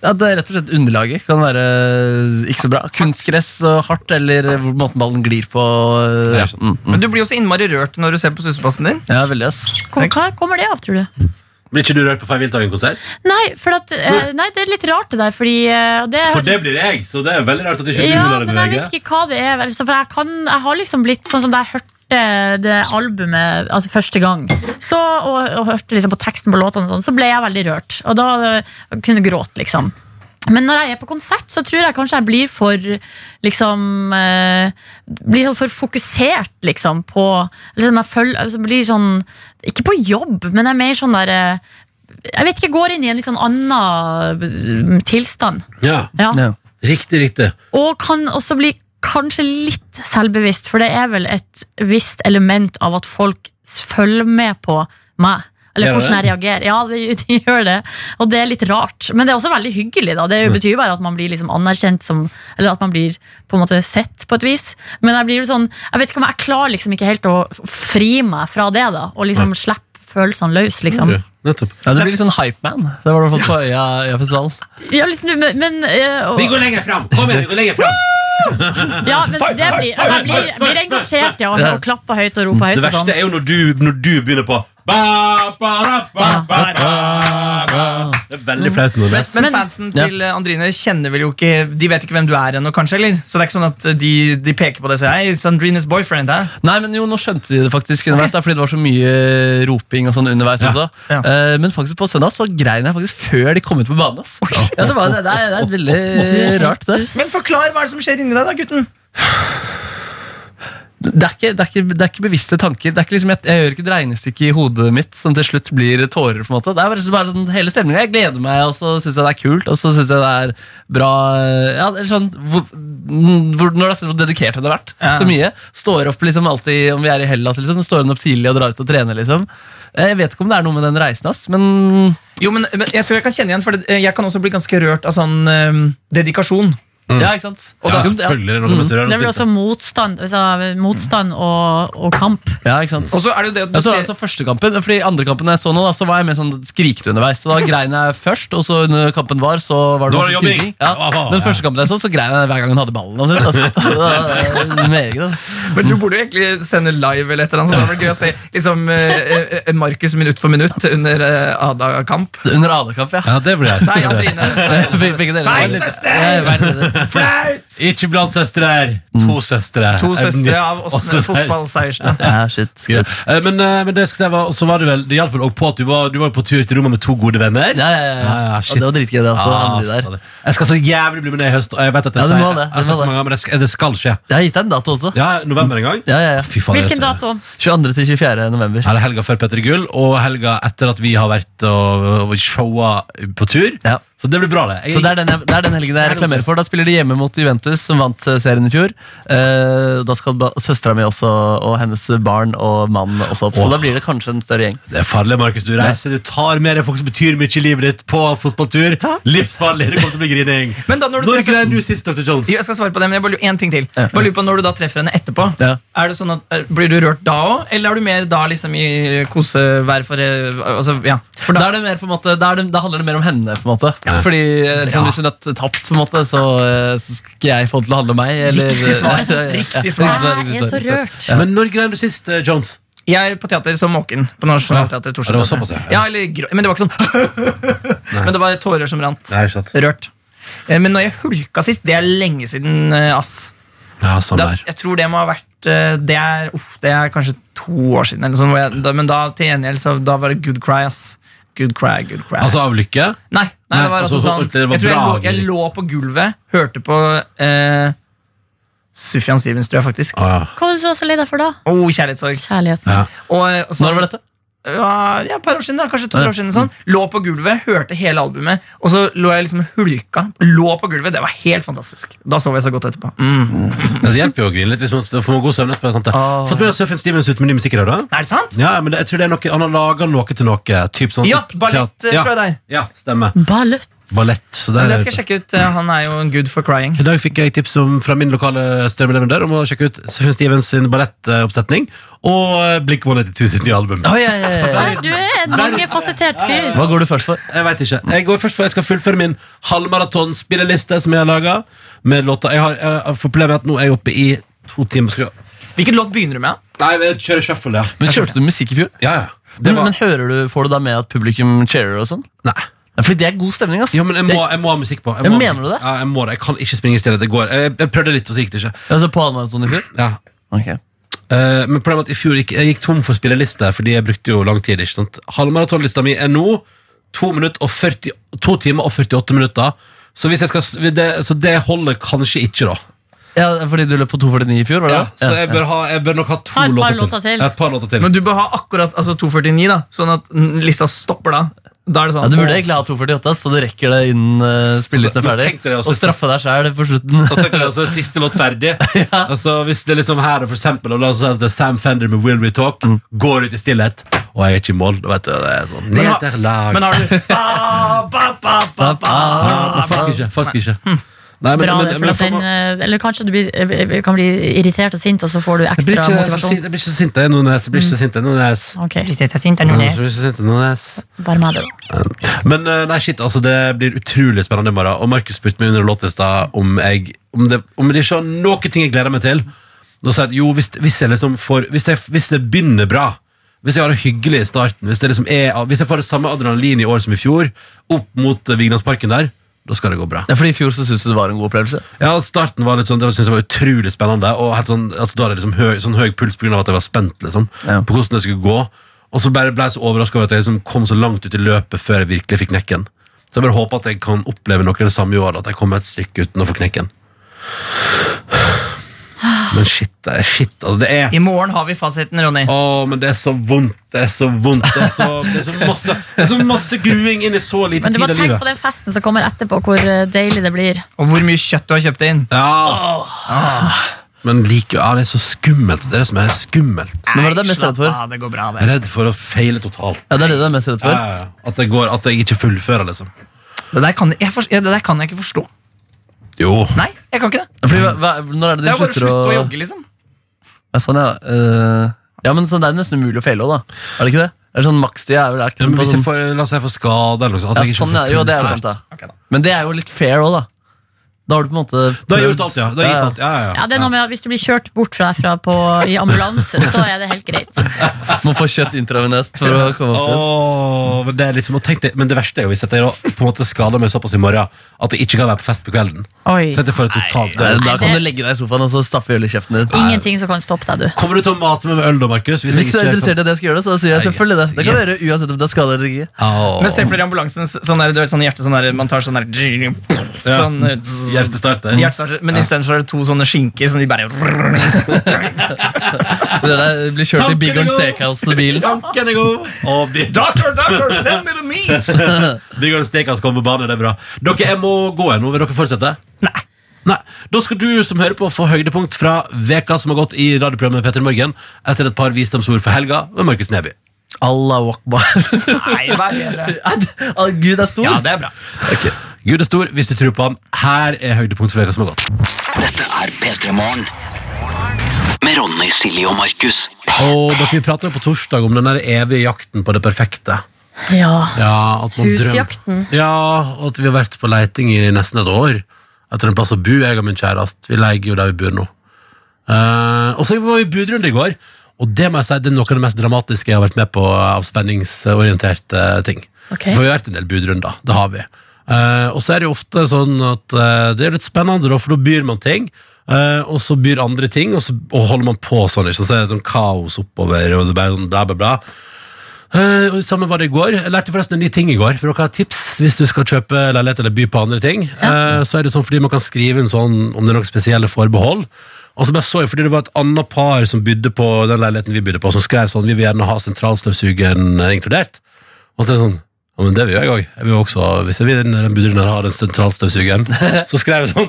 D: Ja, det er Rett og slett underlaget kan være eh, ikke så bra. Kunstgress og hardt, eller eh, hvor måten ballen glir på. eh,
B: Ja, sant.
D: mm, mm.
E: Men du blir jo så innmari rørt når du ser på sussepassen din.
D: Ja, veldig ass.
C: Hvor- Hva kommer det av, tror du?
B: Blir ikke du rørt på Feil Wiltagen-konsert?
C: Nei, for at, eh, nei, det er litt rart det der, fordi eh, det,
B: For det blir jeg, så det er veldig rart at ikke du
C: Ja,
B: lar deg
C: men jeg
B: bevege.
C: vet ikke hva det er. vel, så For jeg, kan, jeg har liksom blitt sånn som da jeg hørte det albumet altså første gang, så, og, og hørte liksom på teksten på låtene, og sånn, så ble jeg veldig rørt. Og da eh, kunne gråte, liksom. Men når jeg er på konsert, så tror jeg kanskje jeg blir for liksom eh, Blir sånn for fokusert, liksom, på liksom jeg føl, altså, Blir sånn Ikke på jobb, men jeg er mer sånn der eh, Jeg vet ikke, jeg går inn i en litt sånn annen eh, tilstand.
B: Ja,
C: Ja.
D: Ja.
B: Riktig, riktig.
C: Og kan også bli kanskje litt selvbevisst, for det er vel et visst element av at folk s- følger med på meg. Eller
B: Gjør det?
C: hvordan jeg reagerer. Ja, de, de gjør det. Og det er litt rart. Men det er også veldig hyggelig. da.
B: Mm.
C: Det betyr bare at man blir liksom anerkjent som Eller at man blir på en måte sett på et vis. Men jeg blir jo sånn, jeg vet ikke om jeg klarer liksom ikke helt å f- fri meg fra det. da. Og liksom slippe følelsene løs. liksom.
B: Du, Nettopp.
D: Ja, Du blir litt sånn hypeman. Det var du fått på Øya, Øyafestivalen.
C: Ja, liksom, men, men, eh, og-
B: Vi går lenger fram! Kom igjen, vi går lenger fram!
C: Ja, men det blir, altså, jeg blir, blir engasjert, ja, og, og klapper høyt og roper høyt.
B: Det
C: og sånn.
B: verste er jo når du, når du begynner på ba, ba, da, ba, ba, da, ba. Det er veldig flaut når det er
E: Men,
C: Men-
E: fansen til eh, Andrine kjenner vel jo ikke De vet ikke hvem du er ennå, kanskje? eller? Så det er ikke sånn at eh, de, de peker på det og sier Hei, it's Andrines boyfriend. Hæ?
D: Nei, men jo, nå skjønte de det faktisk underveis, da, fordi det var så mye roping og sånn underveis også.
E: Ja.
D: Eh, men faktisk på søndag så grein jeg faktisk før de kom ut på banen. ass. Ja, så var det, det, er, det er
C: Eh,
D: veldig rart, det.
E: Men forklar hva er det som skjer inni deg, da, gutten.
D: Det er, ikke, det, er ikke, det er ikke bevisste tanker. Det er ikke liksom, jeg, jeg gjør ikke et regnestykke i hodet mitt som til slutt blir tårer. på en måte. Det er bare, så- bare sånn, hele stemninga. Jeg gleder meg, og så syns jeg det er kult. Og så syns jeg det er bra ja, eller sånn, hvor, hvor, Når du har sett hvor dedikert hun har vært
E: Ja.
D: så mye Står opp liksom alltid, om vi er i Hellas, liksom, står hun opp tidlig og drar ut og trener. liksom. Jeg vet ikke om det er noe med den reisen, ass, men
E: Jo, men, men Jeg tror jeg kan kjenne igjen, for det- eh, jeg kan også bli ganske rørt av sånn eh, dedikasjon.
D: ja, ikke sant? Og
B: Mm. Ja,
D: det er-
B: selvfølgelig. er det noe med
C: Det er vel
B: surrealistisk.
C: også motstand, altså, motstand og, og kamp.
D: ja, ikke sant?
E: Og så er det jo det at
D: Jeg
E: du
D: så
E: ser
D: altså første kampen, fordi andre kampen jeg så nå, da, så var jeg mer sånn skrikete underveis. Så da grein jeg først, og så når kampen var, så var det
B: Da var det
D: masse
B: jobbing.
D: skriking. Ja.
B: Ja.
D: Den første kampen jeg så, så grein jeg hver gang hun hadde ballen. omtrent, Altså. Det var Meget, altså.
E: Men du burde jo egentlig sende live eller et eller annet. Så det hadde vært gøy å se liksom, eh, eh, Markus minutt for minutt under eh, Ada-kamp.
D: Under AD-kamp, ja.
B: Ja, det blir jeg.
E: Nei, Andrine.
D: Be- Begge deler.
E: Feil
D: var litt-
E: søster!
D: Ja, feil søster.
E: Flaut!
B: Ikke blant søstre her. To søstre. Eh,
E: To søstre av
B: Åsne
E: Åsne
B: Seierstad.
E: fotballseiersene.
D: Ja, shit.
B: Greit. Eh, Men, eh, men det, skal jeg, være- så var det vel Det hjalp vel også på at du var, du var på tur til rommet med to gode venner.
D: Ja, ja, ja.
B: Ja, ja,
D: Og
B: shit.
D: det var dritgøy, det. Altså,
B: Ah,
D: andre der.
B: fader. Jeg skal så jævlig bli med ned i høst. Og jeg vet at jeg
D: Ja, du
B: sier
D: må det,
B: jeg har
D: du
B: sagt
D: må det.
B: mange ganger, men det skal, det skal skje.
D: Jeg har gitt deg en dato også.
B: Ja, november en gang.
D: Ja, ja, ja.
B: Fy faen, det er
C: Hvilken
B: så-
C: dato?
D: 22. til 24. november.
B: Her er helga før Petter Gull, og helga etter at vi har vært og, og showa på tur.
D: Ja.
B: Så det blir bra, det. Jeg,
D: Så det er, den jeg, det er den helgen jeg reklamerer for. Da spiller de hjemme mot Juventus Rasmus, som vant eh, serien i fjor. Eh, da skal ba- søstera mi også, og hennes barn og mann også opp, så
B: Åh.
D: da blir det kanskje en større gjeng.
B: Det er farlig, Markus. Du reiser, du tar med deg folk som betyr mye i livet ditt, på fotballtur. Livsfarlig. Det kommer til å bli grining.
E: Men da når du
B: Når
E: treffer-
B: greide du sist, Dr. Jones?
D: altså,
E: Jo, Jeg skal svare på det, men jeg bare lurer en ting til.
D: Ja.
E: Bare lurer på Når du da treffer henne etterpå,
D: Ja.
E: Er det sånn at, er- blir du rørt da òg, eller er du mer da liksom i kosevær for eh, altså, ja. For
D: Da,
E: da,
D: er det mer på en måte, da, er det, da handler det mer om henne, på en måte.
B: Ja.
D: Fordi eh,
B: Ja.
D: Hvis hun har tapt, på en måte, så, eh, så skal jeg få det til å handle om meg. Eller,
E: Riktig svar.
D: Ja, ja, ja.
E: Riktig svar.
C: Jeg er så rørt.
B: Ja. Men når greide du sist, eh, Jones?
E: jeg på teater så måken på Nationaltheatret
B: Ja,
E: torsdag.
B: det var såpass, ja.
E: ja, eller, grå- men det var ikke sånn Men det var tårer som rant.
B: Nei, ikke sant.
E: Rørt. Eh, Men når jeg hulka sist, det er lenge siden, eh, ass.
B: Ja, sånn samme
E: Da,
B: her.
E: jeg tror det må ha vært eh, Det er, uff, det er kanskje to år siden, eller sånn, hvor jeg, da, men da til gjengjeld så da var det good cry, ass. Good cry, good cry.
B: Altså av lykke?
E: Nei, nei,
B: Nei,
E: det var
B: altså,
E: altså,
B: så
E: sånn
B: ordentlig, det var
E: Jeg tror jeg lå,
B: draging.
E: jeg lå på gulvet, hørte på eh, Sufjan Stevens, tror jeg faktisk.
B: Ah,
C: Hva var du så så lei deg for da?
E: Oh, kjærlighetssorg.
C: Kjærlighet.
B: ja.
E: Og, eh, og så-
D: Når var dette?
E: Ja, ja, et par år siden, da, kanskje to år siden. sånn Lå på gulvet, hørte hele albumet, og så lå jeg liksom hulka. Lå på gulvet, Det var helt fantastisk. Da sov jeg så godt etterpå. Mm.
B: Ja, Det hjelper jo å grine litt hvis man får man god søvn etterpå. Sant? det?
D: Ah.
B: Fått med deg Sufjan Stevens ut med ny musikk i dag, da?
E: Er det sant?
B: Ja, men det, jeg tror det er noe, han har laga noe til noe. Typ sånn
E: Ja, ballett,
B: teat-
E: eh, tror jeg det er. Mm.
B: Ja, stemmer.
C: Ballett.
B: Ballett. Så der er
E: Men det skal jeg sjekke ut. eh, Han er jo en good for crying.
B: I dag fikk jeg tips om, fra min lokale strømleverandør om å sjekke ut Sufjan Stevens sin ballettoppsetning og eh, Blink 182 sitt nye album.
E: Ah.
D: Oi, oi, oi, oi.
C: Der, du er en mangefasettert fyr.
D: Hva går du først for?
B: Jeg vet ikke. Jeg går først for jeg skal fullføre min halvmaratonspilleliste som jeg har laga. Med låter Jeg har jeg får problemet med at nå er jeg oppe i to timer. Skal vi...
E: Hvilken låt begynner du med?
B: Nei, vi kjører shuffle, ja.
D: Men Kjørte du musikk i fjor?
B: Ja, ja. Det
D: Men,
B: var...
D: men hører du, Får du da med at publikum cheerer og sånn?
B: Nei.
D: Ja, Fordi det er god stemning, ass.
B: Jo, men jeg må, jeg må ha musikk på.
D: Ja,
B: må ha
D: mener
B: musikk.
D: du det?
B: Ja, jeg må det. Jeg kan ikke springe i stedet. Det går. Jeg, jeg prøvde litt, og så gikk det ikke.
D: Altså På halvmaraton i fjor?
B: Ja.
D: Ok.
B: Eh, men problemet er at i fjor gikk, jeg gikk tom for spilleliste, fordi jeg brukte jo lang tid. ikke sant? Halvmaratonlista mi er nå 2, minutter og 40, 2 timer og 48 minutter. Så, hvis jeg skal, s- det, så det holder kanskje ikke, da.
D: Ja, Fordi du løp på 2,49 i fjor? var det?
B: Ja,
D: det?
B: så jeg bør, ha, jeg bør nok ha to
C: Ha et par
B: låter,
C: låter til.
B: Ja, Et par låter til.
E: Men du bør ha akkurat altså 2.49, da sånn at n- lista stopper da. Da er det sånn
D: Ja, du burde egentlig ha 2,48, så du rekker det innen uh, spillelisten er
B: Men
D: ferdig.
B: tenk altså, deg også-
D: Og straffe deg sjæl på slutten.
B: Da tenker jeg altså siste låt ferdig. altså, hvis det er liksom her, for eksempel, og la oss si at det er Sam Fender med Will We Talk
C: Mm.
B: går ut i stillhet, og jeg er ikke i mål, da vet du, det er sånn
E: ha-
B: nederlag.
E: Men har du ba, ba, ba, ba, ba.
B: Ah, faktisk ikke. Faktisk ikke. Nei, men,
C: Mm. Bra,
B: men,
C: det,
B: men,
C: for at
B: faen,
C: den, eh, eller kanskje du blir, eh, kan bli irritert og sint, og så får du
B: jeg
C: ekstra
B: blir ikke så sint-
C: motivasjon. Mm.
B: jeg blir ikke så sint, jeg, Nordnes. Jeg blir ikke så sint, jeg, Nordnes.
C: Ok,
B: Jeg blir ikke så sint, jeg, Nordnes.
C: bare med det. da.
B: Men eh, nei, shit, altså, det blir utrolig spennende i morgen. Og Markus spurte meg under låtlista om, jeg, om, det, om det ikke var noe ting jeg gleder meg til. Da sa jeg at jo, hvis, hvis, jeg liksom får, hvis, jeg, hvis det begynner bra hvis jeg har det hyggelig i starten, hvis, det liksom er, hvis jeg får det samme adrenalin i år som i fjor, opp mot eh, Vigelandsparken der, da skal det gå bra.
D: Ja, fordi I fjor så syntes du det var en god opplevelse.
B: Ja, starten var litt sånn, det var- synes jeg var utrolig spennende Og helt sånn, altså, da hadde jeg liksom høy, sånn høy puls på grunn av at jeg var spent liksom,
D: Ja.
B: På hvordan det skulle gå Og så bare ble jeg så overrasket over at jeg liksom kom så langt ut i løpet Før jeg virkelig fikk knekken Så jeg bare håper at jeg kan oppleve noe av det samme i år At jeg kommer et stykke uten å få knekken Men shit, det er shit altså, Det er
E: I morgen har vi fasiten, Ronny.
B: Åh, men det er så vondt, det er så vondt Det er så, det er så, masse, det er så masse gruing inn i så lite
C: Men du
B: tid
C: må
B: av
C: tenke på
B: livet
C: den festen som kommer etterpå, hvor eh, deilig det blir.
E: Og hvor mye kjøtt du har kjøpt inn.
B: Ja Men like, ja, det er så skummelt Det er det som er skummelt
D: Men hva er det du er mest
E: Slapp
D: redd for?
E: av, det går bra, det.
B: redd for å feile totalt.
D: Ja, det er det du er mest redd for.
B: At, det går, at jeg ikke fullfører, liksom.
E: Det der, kan jeg, for, ja, det der kan jeg ikke forstå.
B: Jo.
E: Nei, jeg kan ikke det.
D: Fordi, hva, hva, når er det
E: Det
D: de
E: er bare å
D: slutter å
E: slutte å jogge, liksom.
D: Ja, sånn, ja. eh, ja, men sånn, Det er nesten umulig å feile òg, da. Er det ikke det? Det er sånn Makstid er vel er ikke
B: Ja,
D: den
B: men
D: på
B: hvis jeg
D: sånn,
B: får, la oss si jeg får skade eller noe sånt.
D: ja,
B: At jeg ikke
D: sånn ja,
B: får
D: jo, det er sant
B: fullført.
D: da
E: Ok, da.
D: Men det er jo litt fair òg, da. Da har du på en måte
B: Da har jeg
D: prøvd.
B: gjort alt, ja. Da har jeg gitt alt. Ja, ja, ja.
C: Ja, det er noe med at Hvis du blir kjørt bort fra derfra på, i ambulanse, så er det helt greit.
D: ja. Må få kjøtt intravenøst for å komme opp dit.
B: Åh, men, det er liksom, og tenk deg- men det verste er jo hvis jeg da på en måte skader meg såpass i morgen at jeg ikke kan være på fest på kvelden.
C: Oi.
B: Tenk deg for et totalt
D: Da,
B: død.
D: da kan du legge deg i sofaen og så staffe i kjeften din.
C: Ingenting som kan stoppe deg, du.
B: Kommer du til å mate meg med øl da, Markus? Hvis,
D: Hvis du
B: jeg
D: er
B: ikke
D: interessert i at jeg skal gjøre det, så sier jeg
B: Ja,
D: selvfølgelig det.
B: yes,
D: Det kan dere
B: yes.
D: uansett om det er skade eller ikke.
B: Åh.
E: Men se for dere ambulansen, sånn der, du vet, sånn hjerte, sånn der, man tar sånn der sånn, eh, zzz,
B: Hjertestart der.
E: hjertestarter, Men isteden så er det to sånne skinker som de bare
D: Det der blir kjørt i Big
B: Tanken
D: On
B: er god.
D: Steakhouse-bilen.
B: Tanken er god! Og vi-
E: Doctor, doctor, send me the meat!
B: Bygger en stekas kommer på banen, det er bra. Dere, jeg må gå igjen nå. Vil dere fortsette? Nei. Da Nå skal du som hører på få høydepunkt fra veka som har gått i radioprogrammet Petter i Morgen, etter et par visdomsord for helga med Markus Neby.
D: Allah wakbar.
E: Nei, vær bedre.
D: Gud er stor.
E: Ja, det er bra.
B: Gud er stor, hvis du tror på han. Her er høydepunkt for veka som har gått.
A: Dette er P3 Morgen. Med Ronny, Silje og Markus.
B: Og dere vi pratet jo på torsdag om den der evige jakten på det perfekte.
C: Ja.
B: Ja, at man drøm-
C: Husjakten.
B: Ja, og at vi har vært på leiting i nesten et år etter en plass å bo, jeg og min kjæreste. Vi leier jo der vi bor nå. Eh, og så var vi i budrunde i går, og det må jeg si det er noe av det mest dramatiske jeg har vært med på av spenningsorienterte eh, ting.
C: Ok.
B: For vi har vært en del budrunder, det har vi. Eh, og så er det jo ofte sånn at eh, det er litt spennende, da, for da byr man ting. eh, og så byr andre ting, og så og holder man på sånn. Ikke? sant? Så er det sånn kaos oppover, og det bare sånn bla, bla, bla. Eh, og Samme var det i går. Jeg lærte forresten en ny ting i går. For dere har tips hvis du skal kjøpe leilighet eller by på andre ting. Eh, Så er det sånn fordi man kan skrive en sånn om det er noen spesielle forbehold. Og så bare så jeg, fordi det var et annet par som bydde på den leiligheten vi bydde på, som skrev sånn Vi vil gjerne ha sentralstøvsugeren eh, inkludert. Og så er det sånn ja, men det vil jeg òg. Jeg vil også, hvis jeg vil den den budrunden her ha den sentralstøvsugeren, så skrev jeg sånn.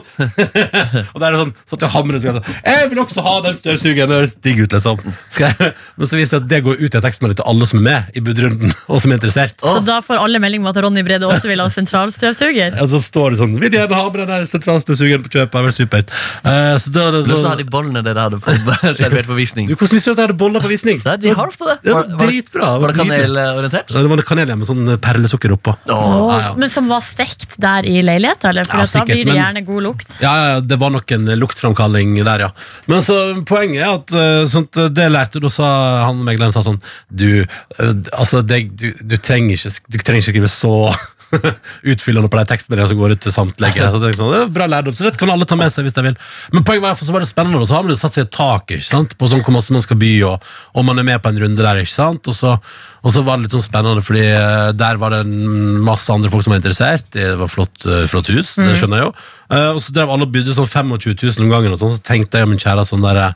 B: og da er det sånn, satt jeg og hamret og skrev sånn Jeg vil også ha den støvsugeren! Det høres digg ut, liksom. Skrev. Men så viser det seg at det går ut i en tekstmelding til alle som er med i budrunden, og som er interessert.
C: Så da får alle melding om at Ronny Brede også vil ha sentralstøvsuger?
B: Og så står det sånn Vil gjerne ha med den der sentralstøvsugeren på kjøpet. Det er vel supert. Eh, så da er det
D: Men så har
B: sånn
D: de bollene dere hadde på, servert på visning.
B: du, Hvordan visste du at jeg hadde boller på visning?
D: Nei, de har ofte det.
B: Det var
D: Var- var det-
B: dritbra.
D: Var det
B: nydelig.
D: kanelorientert?
B: Ja, Det var kanel ja, med sånn perlesukker oppå.
D: Åh.
C: Åh,
B: Ja, ja.
C: Men som var stekt der i leiligheten? Eller? For
B: Ja,
C: at da
B: sikkert,
C: blir det
B: men-
C: gjerne god lukt.
B: Ja, ja, det var nok en luktframkalling der, ja. Men så poenget er at eh, sånt, eh, det lærte du, sa han megleren sa sånn Du, eh, altså, det, du, du, trenger ikke, sk- du trenger ikke skrive så utfyllende på de tekstmeldingene som går ut til samtlige. Så tenkte jeg sånn, det er bra lærdom, så det kan alle ta med seg hvis de vil. Men poenget var, i hvert fall, så var det spennende, og så har man jo satt seg et tak ikke sant? på sånn hvor masse man skal by, og, og man er med på en runde der, ikke sant? Og så, og så var det litt sånn spennende, fordi eh, der var det en masse andre folk som var interessert. Det var flott, eh, flott hus,
C: Mm.
B: det skjønner jeg jo. Eh, og så drev alle og bydde sånn 25 000 om gangen, og sånn, så tenkte jeg og min kjære sånn der eh,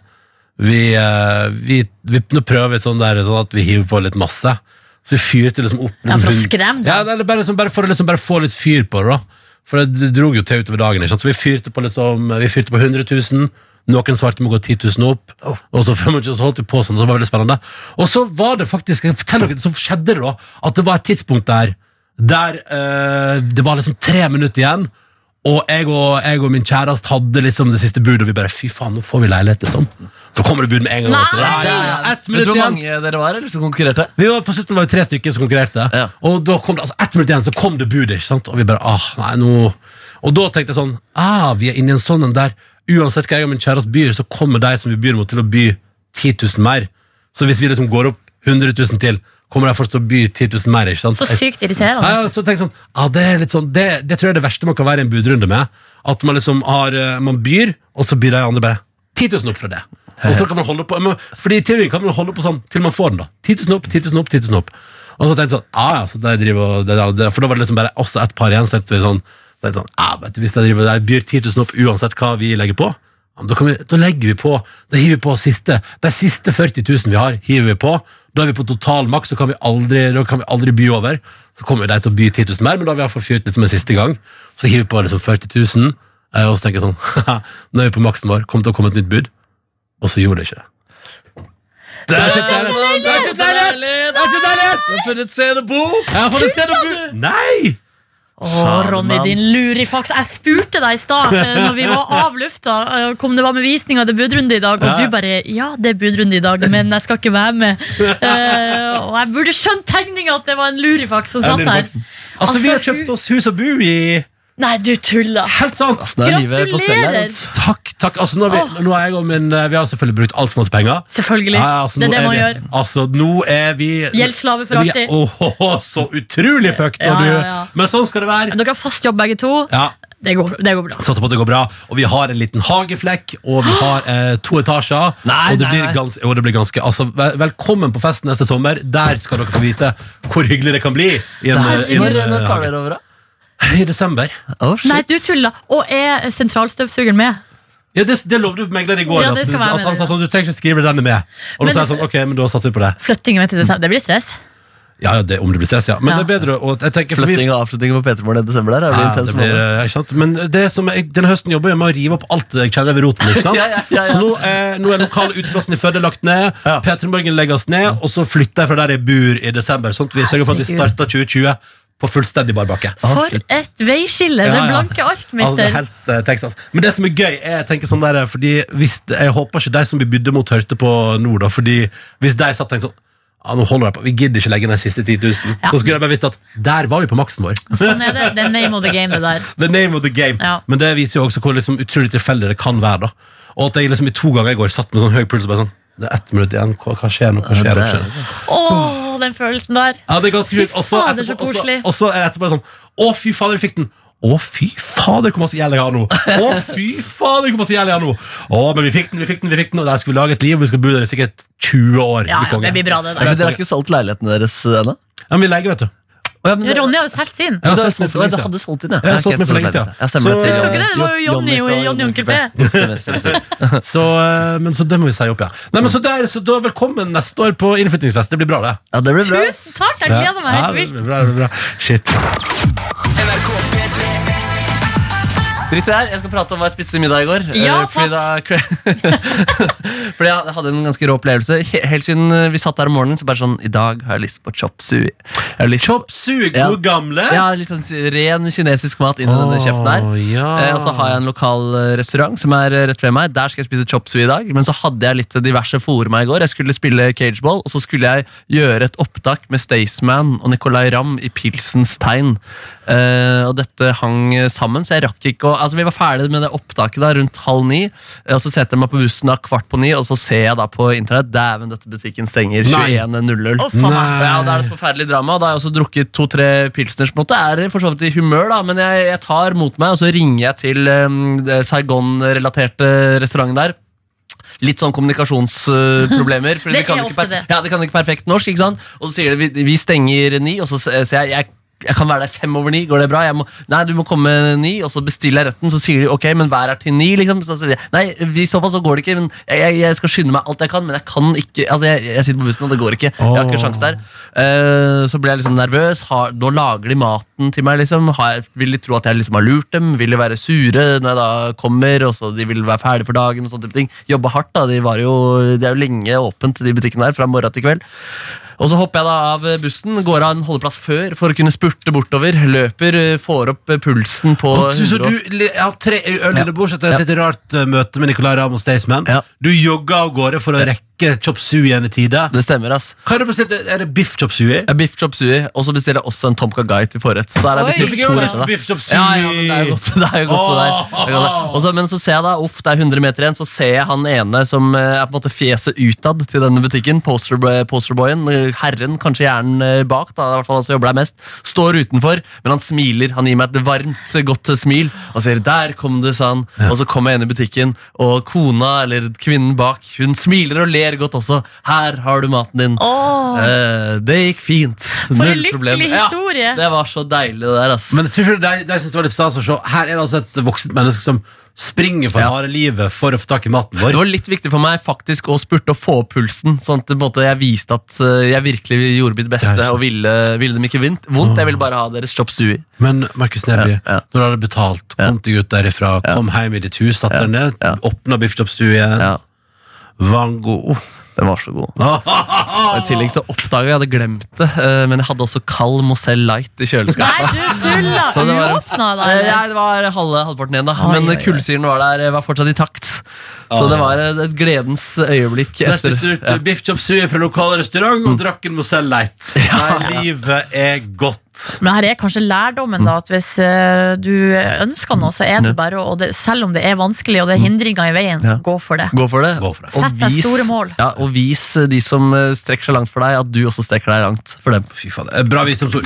B: vi, eh, vi, vi, Nå prøver vi sånn der sånn at vi hiver på litt masse. Så vi fyrte liksom opp
C: Ja, for å
B: noen-
C: skremme dem.
B: Ja, eller bare, liksom, bare for å liksom bare få litt fyr på det, da. For det dro jo til utover dagen. Ikke sant? Så vi fyrte på liksom Vi fyrte på 100 000. Noen svarte med å gå 10 000 opp, og så 25 000, så holdt vi på sånn. Så det var veldig spennende. Og så var det faktisk jeg forteller dere, så skjedde det da at det var et tidspunkt der der eh, det var liksom tre minutter igjen, og jeg og, jeg og min kjæreste hadde liksom det siste budet, og vi bare fy faen, nå får vi leilighet, liksom. Så kommer det bud med en gang.
C: Nei!
B: vet du. Ja, ja, ja. Ett
D: Vet
B: minutt
D: du hvor
B: igjen.
D: mange dere var eller, som konkurrerte?
B: Vi var, på slutten var det tre stykker som konkurrerte.
D: Ja.
B: Og da kom det, altså ett minutt igjen så kom det budet. ikke sant? Og vi bare, ah, nei, nå... Og da tenkte jeg sånn ah, Vi er inne i en sånn en der uansett hva jeg og min kjæreste byr, så kommer de som vi byr mot, til å by 10 000 mer. Så hvis vi liksom går opp 100 000 til, kommer de fortsatt til å by 10 000 mer. ikke sant?
C: Så
B: Jeg-
C: sykt irriterende.
B: ja, ja, så tenk sånn, ja, det, er litt sånn det, det tror jeg er det verste man kan være i en budrunde med. At man liksom har, eh, man byr, og så byr de andre bare 10 000 opp fra det. Og så kan man holde på, men, fordi i teorien kan man holde på sånn til man får den da. 10 000 opp, 10 000 opp, 10 000 opp. Og så tenkte jeg sånn, ja, ja, så der driver, det, det, for da var det liksom bare også et par igjen, så tenkte vi sånn, tenkte sånn ja, vet du, hvis jeg driver, jeg byr 10 000 opp uansett hva vi legger på, ja, men da, kan vi, da legger vi på, da hiver vi på siste, de siste 40 000 vi har, hiver vi på, da er vi på total maks, så kan vi aldri, da kan vi aldri by over. Så kommer jo de til å by 10 000 mer, men da har vi iallfall fyrt litt som en siste gang. Så hiver vi på liksom 40 000, eh, og så tenker jeg sånn haha, Nå er vi på maksen vår, kommer til å komme et nytt bud. Og så gjorde det ikke det. Det er ikke deilig! Det er ikke deilig! Det er ikke deilig!
D: Funnet sted å bo!
B: Jeg har fått et sted å bo! Nei!
C: Å, Ronny, din lurifaks. Jeg spurte deg i stad, eh, når vi var av lufta, eh, om det var med visning av det er budrunde i dag, og
B: Ja.
C: du bare Ja, det er budrunde i dag, men jeg skal ikke være med. Eh, og jeg burde skjønt tegninga at det var en lurifaks som satt
B: Erlend
C: her.
B: Baksen. Altså, vi har kjøpt oss hus og bo i
C: Nei, du tuller.
B: Helt sant!
D: Det er livet på stell her.
C: Gratulerer!
D: ass.
B: Takk, takk. Altså, nå har vi, nå har jeg og min, eh, vi har selvfølgelig brukt altfor masse penger.
C: Selvfølgelig.
B: Ja, ja, altså,
C: det er
B: nå
C: det man
B: vi,
C: gjør.
B: Altså, nå er vi
C: Gjeldsslave for
B: Vi-
C: alltid.
B: Åh, åh, åh, så utrolig fucked, da,
C: Ja,
B: du.
C: ja, ja.
B: Men sånn skal det være.
C: Dere har fast jobb, begge to.
B: Ja.
C: Det, går, det går bra.
B: Satser på at det går bra. Og vi har en liten hageflekk, og vi har eh, to etasjer.
D: Nei,
B: og det
D: nei,
B: blir
D: nei.
B: gans- og det blir ganske altså, vel, Velkommen på festen neste sommer. Der skal dere få vite hvor hyggelig det kan bli. I, en, eh,
D: Der,
B: i, en,
D: når, når tar
B: hage.
D: dere over, da?
B: I desember.
D: Oh, shit.
C: Nei, du tuller. Og er sentralstøvsugeren med?
B: Ja, det, det lovde megler i går.
C: Ja, det
B: at,
C: skal være
B: at han
C: med,
B: sa
C: ja.
B: sånn, du trenger ikke skrive denne med. Og
C: Men-
B: da sa jeg sånn, ok, men da satser vi på det.
C: Flytting vet jeg, det blir stress.
B: Ja, ja, det, om det blir stress, ja. Men
C: Ja.
B: det er bedre å jeg tenker, for vi-
D: Flytting og avslutting på P3morgen i desember der. er
B: Ja,
D: Det
B: det
D: intens
B: blir,
D: måned.
B: eh, ikke sant? Men det som jeg, denne høsten jobber jeg med å rive opp alt jeg kjenner ved roten. Ikke sant?
D: Ja, ja, ja, ja.
B: Så nå er, nå er lokale uteplassen i Førde lagt ned,
D: Ja.
B: P3morgen legges ned, og så flytter jeg fra der jeg bor i desember. Sånn at vi sørger for at vi
C: Herregud.
B: starter 2020 på fullstendig bar bakke.
C: For et veiskille
B: Ah, Ja,
C: med
B: ja.
C: blanke ark,
B: Altså,
C: mister.
B: det er helt eh, Texas. Men det som er gøy, er jeg tenker sånn der Fordi hvis Jeg håper ikke de som blir bydde mot, hørte på nå, da. Fordi hvis de satt og tenkte sånn ja, nå holder jeg på, Vi gidder ikke legge ned siste 10 000.
C: Ja.
B: Så skulle jeg bare visst at der var vi på maksen vår.
C: Sånn er det. Det er name of the game, det der.
B: The name of the game.
C: Ja.
B: Men det viser jo også hvor liksom utrolig tilfeldig det kan være. da Og at jeg liksom i to ganger i går satt med sånn høy puls og bare sånn Det er ett minutt igjen. Hva, hva skjer nå? Hva skjer, hva skjer?
C: Å, den følelsen der.
B: Ja, det er ganske sjukt. Og så
C: fader,
B: etterpå-
C: så koselig.
B: og så- og så er det etterpå sånn Å, fy fader, jeg fikk den. Å, fy fader, hvor masse gjeld jeg har nå! Å, fy fader, hvor masse gjeld jeg har nå! Å, men vi fikk den, vi fikk den, vi fikk den, og der skal vi lage et liv, og vi skal bo der i sikkert 20 år.
C: Ja,
B: du
C: ja,
B: konge.
C: det blir bra, det
D: Ja,
C: der.
D: men Dere har ikke solgt leiligheten deres eh, ennå?
B: Ja, men vi leier, vet du.
D: Å, ja, men det-
C: Ronny har jo solgt
D: Du
C: sin.
B: Ja, så
D: har
B: jeg solgte
D: solgt-
B: den
D: Å, du
B: for lenge
D: hadde solgt den, ja.
B: Ja, jeg solgte den for lenge siden.
D: Ja, stemmer det.
B: Så-
C: Husker du ikke det? Det var jo Jonny og
D: fra
C: Jonny og Coupé.
D: Stemmer, stemmer, stemmer.
B: Så, eh, men så det må vi si opp, ja. Nei, men så der, så da velkommen neste år på innflyttingsfest. Det blir bra, det.
D: Ja, det blir bra.
C: Tusen takk, jeg gleder meg
B: Ja,
C: helt
B: det
C: vilt.
B: blir bra, det blir bra. Shit.
D: Dritt i det her, jeg skal prate om hva jeg spiste til middag i går.
C: Ja,
D: eh, fordi, da, fordi jeg hadde en ganske rå opplevelse. He- Helt siden eh, vi satt der om morgenen, så bare sånn I dag har jeg lyst på chop sui. Jeg har lyst på-
B: Chop sui,
D: Ja.
B: god gamle.
D: Ja, litt sånn ren kinesisk mat inni denne kjeften her.
B: Å, ja.
D: Eh, og så har jeg en lokal eh, restaurant som er eh, rett ved meg. Der skal jeg spise chop sui i dag. Men så hadde jeg litt diverse for meg i går. Jeg skulle spille cageball, og så skulle jeg gjøre et opptak med Staysman og Nicolay Ramm i Pilsens tegn. Eh, og dette hang eh, sammen, så jeg rakk ikke å Altså, vi var ferdig med det opptaket da rundt halv ni, eh, og så setter jeg meg på bussen da kvart på ni, og så ser jeg da på internett Dæven, dette butikken stenger
B: Nei.
D: 21.00.
C: Å, faen meg.
D: Ja, det er det et forferdelig drama. og Da har jeg også drukket to-tre pilsners. på en måte er for så vidt i humør, da, men jeg, jeg tar mot meg, og så ringer jeg til um, det Saigon-relaterte restauranten der. Litt sånn kommunikasjonsproblemer.
C: Det
D: de kan
C: er
D: ikke
C: ofte
D: perf-
C: det.
D: Ja, de kan ikke perfekt norsk, ikke sant? Og så sier de vi, vi stenger ni, og så s- eh, sier jeg, jeg jeg kan være der fem over ni, går det bra? Jeg må, nei, du må komme ni, og så bestiller jeg retten, så sier de ok, men hver er til ni, liksom. Så sier jeg, nei, i så fall så går det ikke, men jeg, jeg, jeg skal skynde meg alt jeg kan, men jeg kan ikke, altså jeg, jeg sitter på bussen, og det går ikke. Jeg har ikke sjans der. Eh, så blir jeg liksom nervøs, har, nå lager de maten til meg, liksom. Har, jeg- vil de tro at jeg liksom har lurt dem? Vil de være sure når jeg da kommer, og så de vil være ferdige for dagen og sånne type ting? Jobbe hardt da, de var jo, de er jo lenge åpent de butikkene der, fra morgen til kveld. Og så hopper jeg da av bussen, går av en holdeplass før for å kunne spurte bortover. Løper, eh, får opp eh, pulsen på
B: Og du, så
D: 100 og-
B: du li- har tre øl i det bords etter et litt rart eh, møte med Nicolay Ramm og Staysman.
D: Ja.
B: Du jogga av gårde for å rekke chop sui-en i tide.
D: Det stemmer, ass.
B: Hva er det bestilt? Er det biff chop sui?
D: Jeg har Biff chop sui, og så bestiller jeg også en tom kagai til forrett. Så her er
C: Oi,
D: det bestilt
C: så
D: to
C: gøy.
D: retter, da.
B: Biff chop sui!
D: Ja, ja, men det er jo godt, det er jo godt det der. Det er godt det. Og så- men så ser jeg da, uff, det er 100 meter igjen, så ser jeg han ene som eh, er på en måte fjeset utad til denne butikken, poster, posterboyen, eh, herren, kanskje hjernen eh, bak, da, i hvert fall han som jobber der mest, står utenfor, men han smiler, han gir meg et varmt, godt eh, smil, og sier, der kom du, sa han, og så kommer jeg inn i butikken, og kona, eller kvinnen bak, hun smiler og ler godt også, her har du maten din.
C: Åh,
D: Eh, det gikk fint.
C: for en
D: Null problem.
C: lykkelig
D: Ja,
C: historie.
D: det var så deilig det der, ass.
B: Men jeg tror de, de synes det var litt stas å se. Her er det altså et voksent menneske som springer for
D: Ja.
B: harde livet for å få tak i maten vår.
D: Det var litt viktig for meg faktisk å spurte og få opp pulsen, sånn at på en måte, jeg viste at eh, jeg virkelig gjorde mitt
B: Det er
D: beste
B: sant.
D: og ville, ville dem ikke vint, vondt. Jeg ville bare ha deres chop sui.
B: Men Markus Neby,
D: Ja, ja.
B: når du hadde betalt, kom deg ut derifra, kom hjem i ditt hus, satte deg ned,
D: ja.
B: åpna biff chop sui,
D: Ja,
B: var god.
D: Den var så god. Og I tillegg så oppdaga jeg jeg hadde glemt det, eh, men jeg hadde også kald Mozell Light i kjøleskapet.
C: Nei, du tuller!
B: Sånn
D: Så det var-
C: Uåpna, da?
D: Eh,
C: eller?
D: Nei, det var halve, halvparten igjen, da.
C: Oi,
D: Men
C: oi, oi.
D: kullsyren var der, eh, var fortsatt i takt. Så det var et, et gledens øyeblikk.
B: Så jeg
D: etter-
B: spiste ut biff chop sui fra lokal restaurant og drakk en Mozell Light. Der livet er godt.
C: Men her er kanskje lærdommen da, at hvis eh, du ønsker noe, så er det bare å, og det, selv om det er vanskelig og det er hindringer i veien,
D: Ja.
C: gå for det.
D: Gå for det.
B: Mm. Gå for det.
D: Og
C: Sett deg
D: vis-
C: store mål.
D: Ja, og vis eh, de som eh, strekker seg langt for deg, at du også strekker deg langt for dem.
B: Fy faen, det er Bra visdomsord.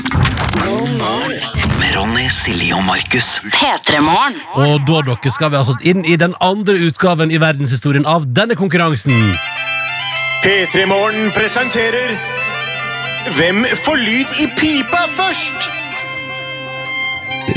A: Med Ronny, Silje og Markus.
B: Og da dere skal vi altså inn i den andre utgaven i verdenshistorien av denne konkurransen.
F: P3 Morgen presenterer Hvem får lyd i pipa først?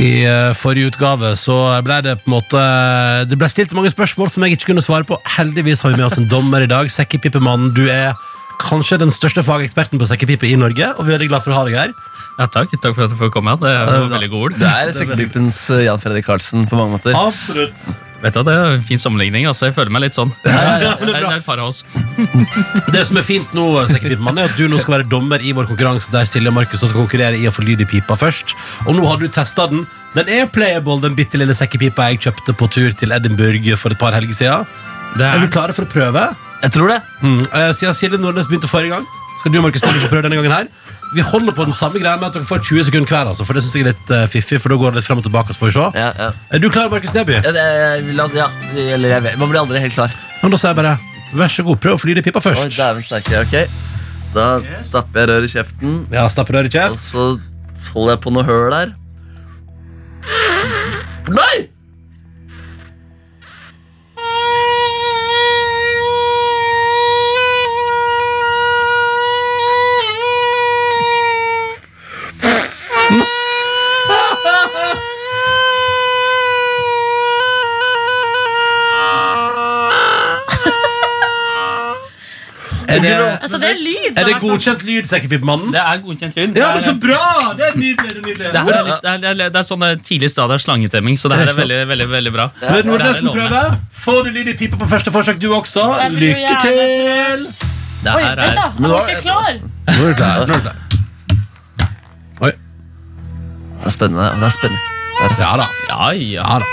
B: I eh, forrige utgave så ble det på en måte eh, Det ble stilt mange spørsmål som jeg ikke kunne svare på. Heldigvis har vi med oss en dommer i dag. Sekkepippemannen, du er kanskje den største fageksperten på sekkepipe i Norge. Og vi er veldig glad for å ha deg her.
G: Ja, takk. Takk for at du får komme. Det var veldig god.
D: Du er sekkepipens eh, Jan Fredrik Karlsen på mange måter.
B: Absolutt.
G: Vet du, Det er en fin sammenligning. altså. Jeg føler meg litt sånn. Det er, det er et par av oss.
B: Det som er fint nå, sekkepipemann, er at du nå skal være dommer i vår konkurranse der Silje og Markus da skal konkurrere i å få lyd i pipa først. Og nå har du testa den. Den er playable, den bitte lille sekkepipa jeg kjøpte på tur til Edinburgh for et par helger siden.
G: Det
B: Er
G: er,
B: du klare for å prøve?
D: Jeg tror det.
B: Mm. eh, Siden Silje Nordnes begynte forrige gang, skal du og Markus Nordnes få prøve denne gangen her. Vi holder på den samme greia med at dere får 20 sekunder hver, altså, for det synes jeg er litt eh, fiffig, for da går det litt frem og tilbake, så får vi se.
D: Ja, ja.
B: Er du klar, Markus Neby?
D: Ja, det jeg vil at- ja, eller jeg vet. Man blir aldri helt klar.
B: Men da sier jeg bare, vær så god, prøv å fly i pipa
D: Oi,
B: først.
D: dæven steike. Ok. Da stapper jeg røret i kjeften,
B: Ja, stapper dere
D: og
B: kjeft.
D: så holder jeg på noe høl der. Nei!
B: Er det,
C: Altså, det er lyd.
B: er det
C: da.
B: godkjent lyd, sekkepippmannen?
G: det er godkjent lyd.
B: Ja,
G: Det
B: men
G: er-
B: så bra! Det er nydelig, det er nydelig.
G: Det, her er litt, det, er, det, er, det er sånn tidlig stadier slangetemming, så det her er veldig, veldig veldig bra.
B: Hør
G: Det er
B: Nordnesen
G: lovende.
B: prøve. Får du lyd i pipa på første forsøk, du også?
C: Jeg vil jo
B: Lykke
C: gjerne.
B: til!
G: Det
C: Oi,
G: her
C: vent,
G: er,
C: da. Jeg var ikke klar.
B: Nå er du klar. Nå er du klar. Oi.
D: Det er spennende. Det er spennende.
B: Ja da.
G: ja, ja.
B: Ja da.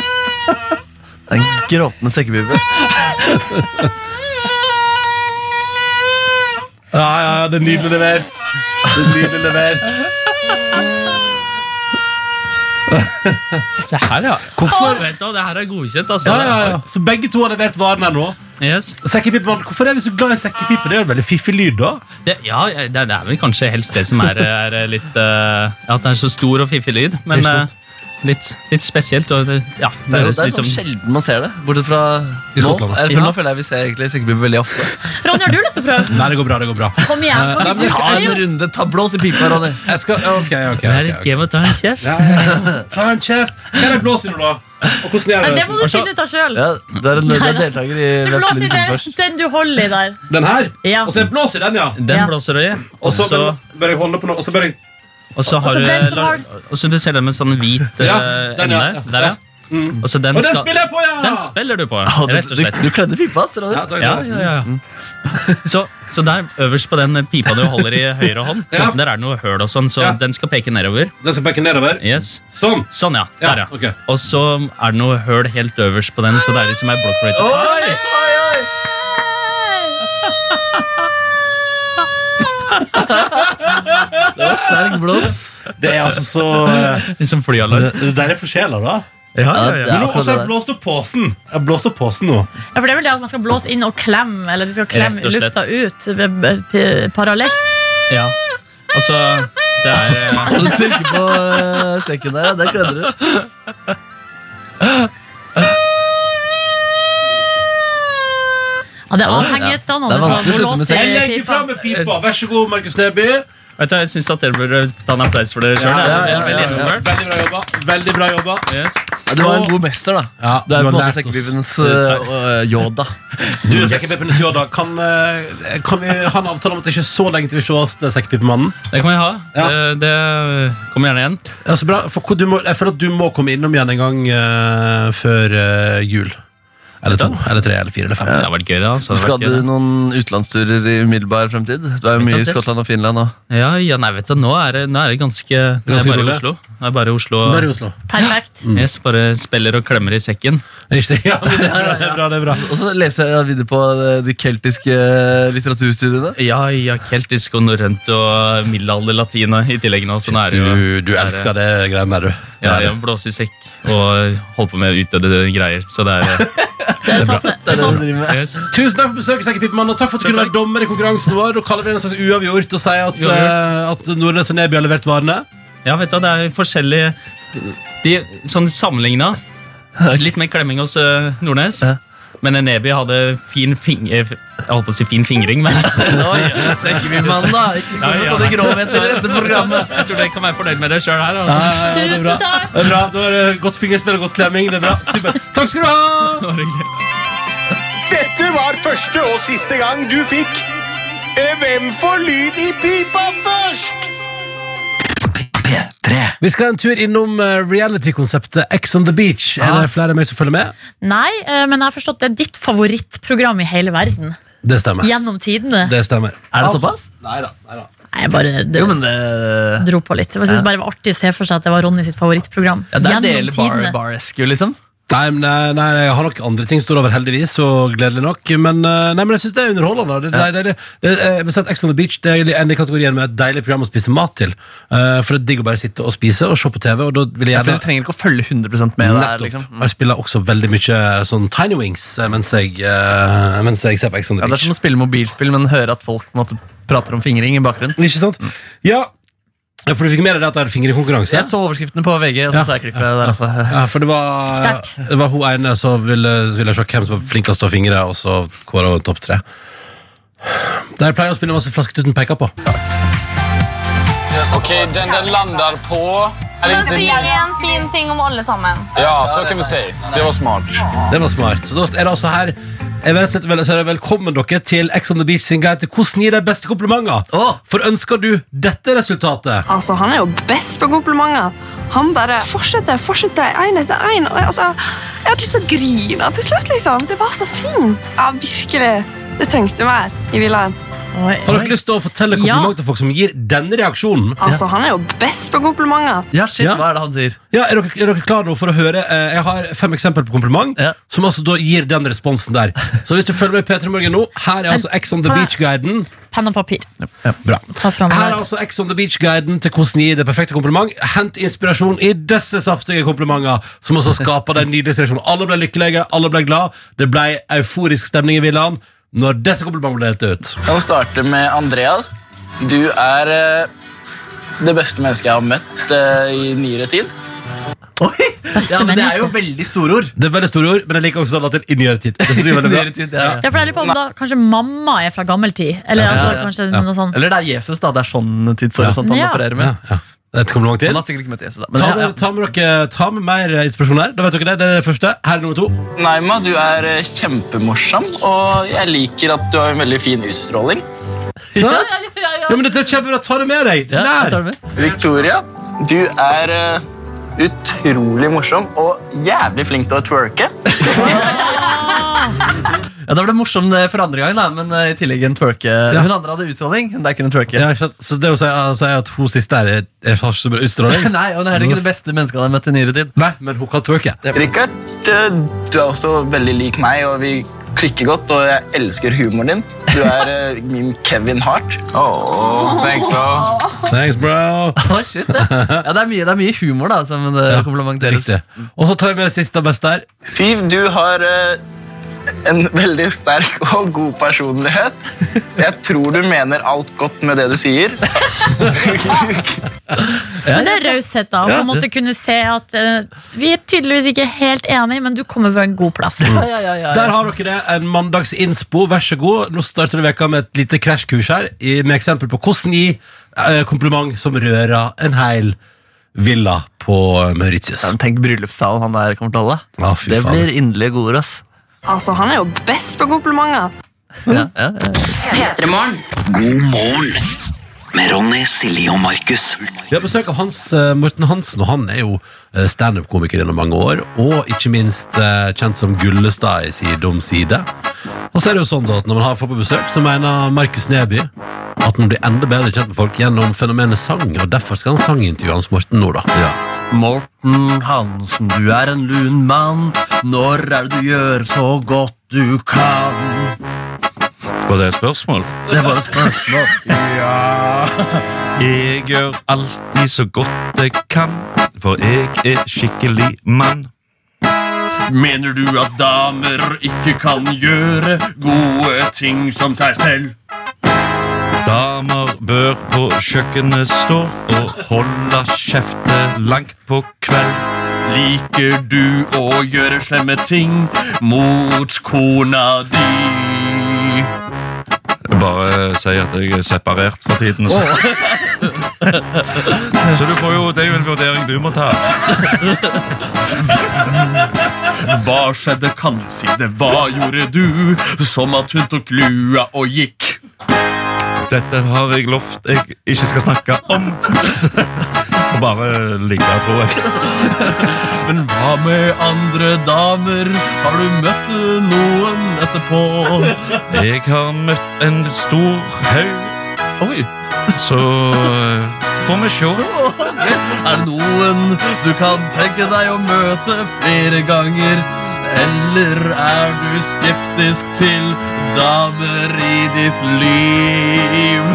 D: Det er en gråtende sekkepipe.
B: Ja, ja, ja, det er nydelig levert. Det er nydelig levert.
G: Se her, ja.
B: Hvorfor?
G: Vet du, hva, det her er godkjent, altså.
B: Ja, ja, ja. Så begge to har levert varen her nå.
G: Yes.
B: Sekkepipemann, hvorfor er vi så glad i sekkepipe? Det er jo en veldig fiffig lyd, da.
G: Det, ja, det, det er vel kanskje helst det som er, er litt eh, At det er så stor og fiffig lyd, men
B: Ikke
G: eh,
B: sant?
G: litt, litt spesielt. Og det, ja,
D: Det
G: det
D: er, jo-
G: høres
D: det er
G: ut som
D: sånn sjelden man ser det. Bortsett fra
B: I
D: nå.
B: Skottland, da.
D: Er det- for
G: Ja.
D: Nå føler jeg vi ser egentlig sekkepipe veldig ofte.
C: Ronny, har du lyst til å prøve?
B: Nei, det går bra. det går bra
C: Kom igjen. Ronny, du
D: Ta
C: skal
D: en
C: jo.
D: runde, ta blås i pipa, Ronny.
B: Jeg skal, ok, ok,
G: Det er
B: ok,
G: litt
B: ok.
G: gøy å ta en kjeft.
B: Ja, ja, ja. Ta en kjeft. Hva er det blås i nå, da? Og hvordan gjør
C: Nei, Det
B: jeg
C: må
B: det?
C: du finne ut av sjøl.
D: Ja, du er en du er
C: Nei, da.
D: deltaker i
C: Du
D: Hvem
C: blåser
D: skulle
C: i
D: vinne
C: den,
D: først.
C: den du holder i der.
B: Den her?
C: Ja.
B: Og så er det blås i den, ja.
G: Den
C: Ja.
G: blåser øyet.
B: Og så
G: Også-
B: bør jeg holde på noe, og så bør jeg
G: Og så har
C: så
G: du
C: den som har-
G: Og så du ser den med sånn hvit
B: Ja,
G: eh,
B: den,
G: ende
B: ja, ja.
G: der.
B: Mm.
G: der ja. Og så den,
B: Og den
G: skal-
B: spiller jeg på, ja!
G: Den spiller du på,
D: Å,
G: rett
D: du,
G: og
D: du,
G: slett.
D: du kledde pipa, ass, Ronny.
B: Ja, takk,
G: Ja,
B: takk.
G: ja, ja.
B: Mm.
G: Så, så der øverst på den pipa du holder i høyre hånd,
B: Ja.
G: der er det noe høl og sånn, så
B: Ja.
G: den skal peke nedover.
B: Den skal pekke nedover.
G: Yes.
B: Sånn.
G: Sånn, ja.
B: Ja,
G: Der, ja.
B: ok.
G: Og så er det noe høl helt øverst på den, så det er liksom ei blokkfløyte.
D: Oi, oi, oi. Det var sterk blås.
B: Det er altså så
G: Liksom flyalarm.
B: Det der er for sjela, da.
G: Ja,
D: Ja,
G: ja,
D: det
G: ja.
D: er
B: Men nå
D: akkurat
B: også
D: det
B: har jeg
D: der.
B: blåst opp posen. Jeg har blåst opp posen nå.
C: Ja, for det er vel det at man skal blåse inn og klemme, eller du skal klemme
G: Rett og slett.
C: lufta ut eh, b- p- parallelt.
G: ja. Altså, det er eh,
D: Når du trykker på eh, sekken der, ja, der kledde du.
C: Ja, det
D: Ja, det-
C: er
D: ja.
C: avhengighetsdannende.
D: Det er vanskelig å slutte med
B: Jeg legger fra meg pipa. Vær så god, Markus Neby.
G: Vet du, Jeg syns dere burde ta en applaus for dere sjøl.
D: Ja, ja, ja, ja, ja.
B: Veldig bra jobba. Veldig bra jobba.
G: Yes.
D: Ja, du var en god mester, da.
B: Ja,
D: Du er
B: du
D: på en
B: har
D: måte
B: lært oss.
D: sekkepipens eh, Yoda.
B: Du, Sekkepippenes Yoda, kan, eh, kan vi ha en avtale om at det ikke er så lenge til vi ses, det er Sekkepipemannen?
G: Det kan vi ha.
B: Ja.
G: Det, det kommer gjerne igjen.
B: Ja, så bra. For, hvor du må, jeg føler at du må komme innom igjen en gang eh, før eh, jul. Eller to, eller tre, eller fire, eller fem.
G: Det har vært gøy, det. altså. Det har
D: Skal
G: vært gøy,
D: du
G: det.
D: noen utenlandsturer i umiddelbar fremtid? Du er jo mye i
G: Utlandes.
D: Skottland og Finland nå.
G: Ja, ja, nei, vet du, nå er det, nå er det ganske Nå er
B: Ganske
G: jeg bare i
B: rolig.
G: Oslo. Nå er jeg bare i Oslo.
B: Nå er det i Oslo.
C: Perfekt.
G: Yes, bare spiller og klemmer i sekken.
B: Ikke sant? Ja, men det er bra, det er bra.
D: Og så leser jeg videre på eh, de keltiske eh, litteraturstudiene.
G: Ja, ja, keltisk og norrønt og middelalder latin i tillegg nå, så nå er det jo
B: Du, du elsker det greiene der, du.
G: ja, ja, blåse i sekk og holde på med utdødde greier. Så det er
C: Det er topp, det.
D: Det er det du driver med.
G: yes.
B: Tusen takk for besøket, Sekkepipemann, og takk for at du kunne være dommer i konkurransen vår. Og kaller det en slags uavgjort og sier at, eh, at Nordnes og Neby har levert varene.
G: Ja, vet du, det er forskjellige De sånn sammenligna Litt mer klemming hos eh, Nordnes.
D: Ja.
G: Men Enebi hadde fin finger... Jeg holdt på å si fin fingring, men
D: Mandag! Ikke kom med sånne grovheter i dette programmet.
G: Jeg tror dere kan være fornøyd med det sjøl her. Altså.
C: Tusen takk!
B: Det er bra, det var eh, Godt fingerspill og godt klemming. Det er bra. Super. Takk skal du ha!
G: Det var hyggelig.
F: Dette var første og siste gang du fikk eh, Hvem får lyd i pipa først?
B: Vi skal en tur innom eh, reality-konseptet X on the beach. Er det flere av meg som følger med?
C: Nei, eh, men jeg har forstått det er ditt favorittprogram i hele verden.
B: Det stemmer.
C: Gjennom tidene.
B: Det stemmer.
D: Er det såpass?
C: Nei, jeg bare d-
D: Jo, men det,
C: dro på litt. Jeg synes bare det var artig å se for seg at det var Ronny sitt favorittprogram.
D: ja, det er
C: Gjennom
D: deler bar,
C: tidene.
D: bar rescue, liksom.
B: Nei, men, eh, nei, jeg har nok andre ting står over, heldigvis, og gledelig nok. Men, eh, nei, men jeg syns det er underholdende. Det, det, det, det, eh, jeg vil si at Ex on the beach det er en i kategorien med et deilig program å spise mat til. Eh, for det er digg å bare sitte og spise og se på TV, og da vil jeg
D: For
B: gjerne
D: du trenger ikke å følge 100 med. Der,
B: Nettopp.
D: liksom.
B: Og Jeg spiller også veldig mye sånn Tiny Wings eh, mens jeg, eh, mens jeg ser på Ex on the
D: Ja, det er
B: Beach.
D: som å spille mobilspill, men høre at folk på en måte, prater om fingring i bakgrunnen.
B: Ikke sant?
D: Mm.
B: Ja, Ja, for du fikk med deg det at det er fingrekonkurranse?
D: Jeg så overskriftene på VG, og så så jeg klippet der. Altså.
B: Ja, for det var,
C: Sterkt.
B: det var hun ene som ville, så ville jeg se hvem som var flinkest til å fingre, og så kåra hun topp tre. Der pleier jeg å spille masse flasket uten peker på.
H: Ok, den den lander på...
I: Nå sier vi en fin ting om alle sammen.
H: Ja, så kan vi si. Det var smart.
B: Det var smart. Så da er det altså her jeg vil slett vel, så er det Velkommen dere til Ex on the Beach sin guide til hvordan gi de beste komplimenter.
D: Å!
B: For ønsker du dette resultatet?
J: Altså, Han er jo best på komplimenter. Han bare fortsetter, fortsetter, én etter én. Og jeg- Altså, jeg hadde lyst til å grine til slutt, liksom. Det var så fint. Ja, virkelig. Det trengte mer i Vilhelm.
C: Oi,
B: Har
C: oi.
B: dere lyst til å fortelle kompliment til folk som gir denne reaksjonen?
J: Altså, Han er jo best på komplimenter.
D: Ja, shit,
B: Ja.
D: hva er det han sier?
B: Ja, er dere, er dere klare nå for å høre? Eh, Jeg har fem eksempler på kompliment,
D: Ja.
B: som altså da gir den responsen der. Så hvis du følger med P3 Morgen nå, her er altså Ex on the
C: Hæ?
B: Beach-guiden.
C: Penn og papir.
B: Bra.
C: Ta fram
B: Her er
C: der.
B: altså Ex on the Beach-guiden til hvordan gi det perfekte kompliment. Hent inspirasjon i disse saftige komplimenter, som altså skaper den nydelige reaksjonen. Alle ble lykkelige, alle ble glad. Det ble euforisk stemning i villaen når disse komplimentene ble delt ut.
H: Jeg må starte med Andreas. Du er eh, det beste mennesket jeg har møtt eh, i nyere tid.
D: Oi!
C: Beste
D: Ja, men det er jo
C: menneske.
D: veldig store ord.
B: Det er veldig store ord, men jeg liker også sånn at det er i nyere tid. Det synes jeg er veldig bra.
D: Nyere tid, ja.
C: Ja, for jeg lurer på om da, Kanskje mamma er fra gammel tid? Eller
D: Ja,
C: altså,
D: ja, ja.
C: kanskje
B: Ja.
C: noe sånt.
D: Eller det er Jesus, da. Det er sånn tidsår og sånt han
C: Ja.
D: opererer
B: Ja,
D: med.
B: ja. Et kompliment til.
D: Han har sikkert ikke møtt Jesus, da. Men
B: Ta
D: ja,
B: med,
D: ja.
B: ta, med dere, ta med mer eh, inspirasjon her. Da vet dere det, det er det første. Her er nummer to.
H: Naima, du er eh, kjempemorsom, og jeg liker at du har en veldig fin utstråling.
B: Sant? Ja, men dette er kjempebra. Ta det med deg.
D: Ja, jeg tar
B: Lær.
D: det med.
H: Victoria, du er eh, utrolig morsom og jævlig flink til å twerke.
D: Ja, da ble det morsomt eh, for andre gang, da, men eh, i tillegg en twerke. Hun andre hadde utstråling. Hun der kunne twerke.
B: Ja, ikke sant? så det å si altså, er at hun siste her er, er har ikke så bra utstråling
D: Nei, og hun er heller ikke det beste mennesket jeg har møtt i nyere tid.
B: Nei, men hun kan twerke.
H: Richard, eh, du er også veldig lik meg, og vi klikker godt, og jeg elsker humoren din. Du er eh, min Kevin Hart. Oh, thanks, bro.
B: Thanks, bro.
D: Å, shit, det. Ja, det, er mye, det er mye humor, da, som det
B: Det er
D: komplimenteres.
B: riktig. Mm. Og så tar vi med det siste og beste her.
H: Siv, du har eh, en veldig sterk og god personlighet. Jeg tror du mener alt godt med det du sier.
C: Men det er raushet, da. Å måtte kunne se at eh, vi er tydeligvis ikke helt enige, men du kommer fra en god plass.
D: Ja, ja, ja, ja.
B: Der har dere det. En mandagsinspo. Vær så god. Nå starter du veka med et lite krasjkurs her, i- med eksempel på hvordan gi eh, kompliment som rører en hel villa på eh, Mauritius.
D: Ja, men Tenk bryllupssalen han der kommer til å holde.
B: Ja, fy
D: det
B: faen.
D: blir inderlige gode ord, ass.
J: Altså, Han er jo best på komplimenter.
D: Ja, ja, ja.
A: God morgen med Ronny, Silje og Markus.
B: Vi har besøk av Hans eh, Morten Hansen, og han er jo eh, standup-komiker gjennom mange år. Og ikke minst eh, kjent som Gullestad i sin dum side. Og så er det jo sånn da at når man har folk på besøk, så mener Markus Neby at man blir enda bedre kjent med folk gjennom fenomenet sang, og derfor skal han sangintervjue Hans Morten nå, da.
D: Morten Hansen, du er en lun mann. Når er det du gjør så godt du kan?
K: Var det et spørsmål?
D: Det var et spørsmål.
K: Jeg gjør alltid så godt jeg kan, for jeg er skikkelig mann.
L: Mener du at damer ikke kan gjøre gode ting som seg selv?
K: Damer bør på kjøkkenet stå og holde kjeftet langt på kveld.
D: Liker du å gjøre slemme ting mot kona di?
A: Bare si at jeg er separert for tiden. Så, så du får jo, det er jo en vurdering du må ta.
D: Hva skjedde, kan du si det? Hva gjorde du? Som at hun tok lua og gikk.
A: Dette har jeg lovt jeg ikke skal snakke om. Så, og bare ligge, tror jeg.
D: Men hva med andre damer? Har du møtt noen etterpå?
A: Jeg har møtt en stor haug. Så eh, får vi se.
D: Er det noen du kan tenke deg å møte flere ganger? Eller er du skeptisk til damer i ditt liv?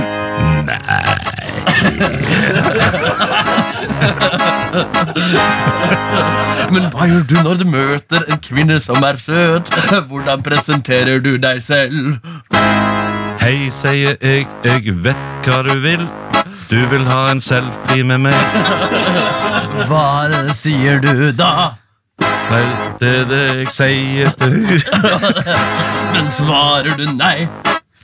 D: Men hva gjør du når du møter en kvinne som er søt? Hvordan presenterer du deg selv?
A: Hei, sier jeg, jeg vet hva du vil. Du vil ha en selfie med meg.
D: Hva sier du da?
A: Nei, det er det jeg sier til hun.
D: Men svarer du nei?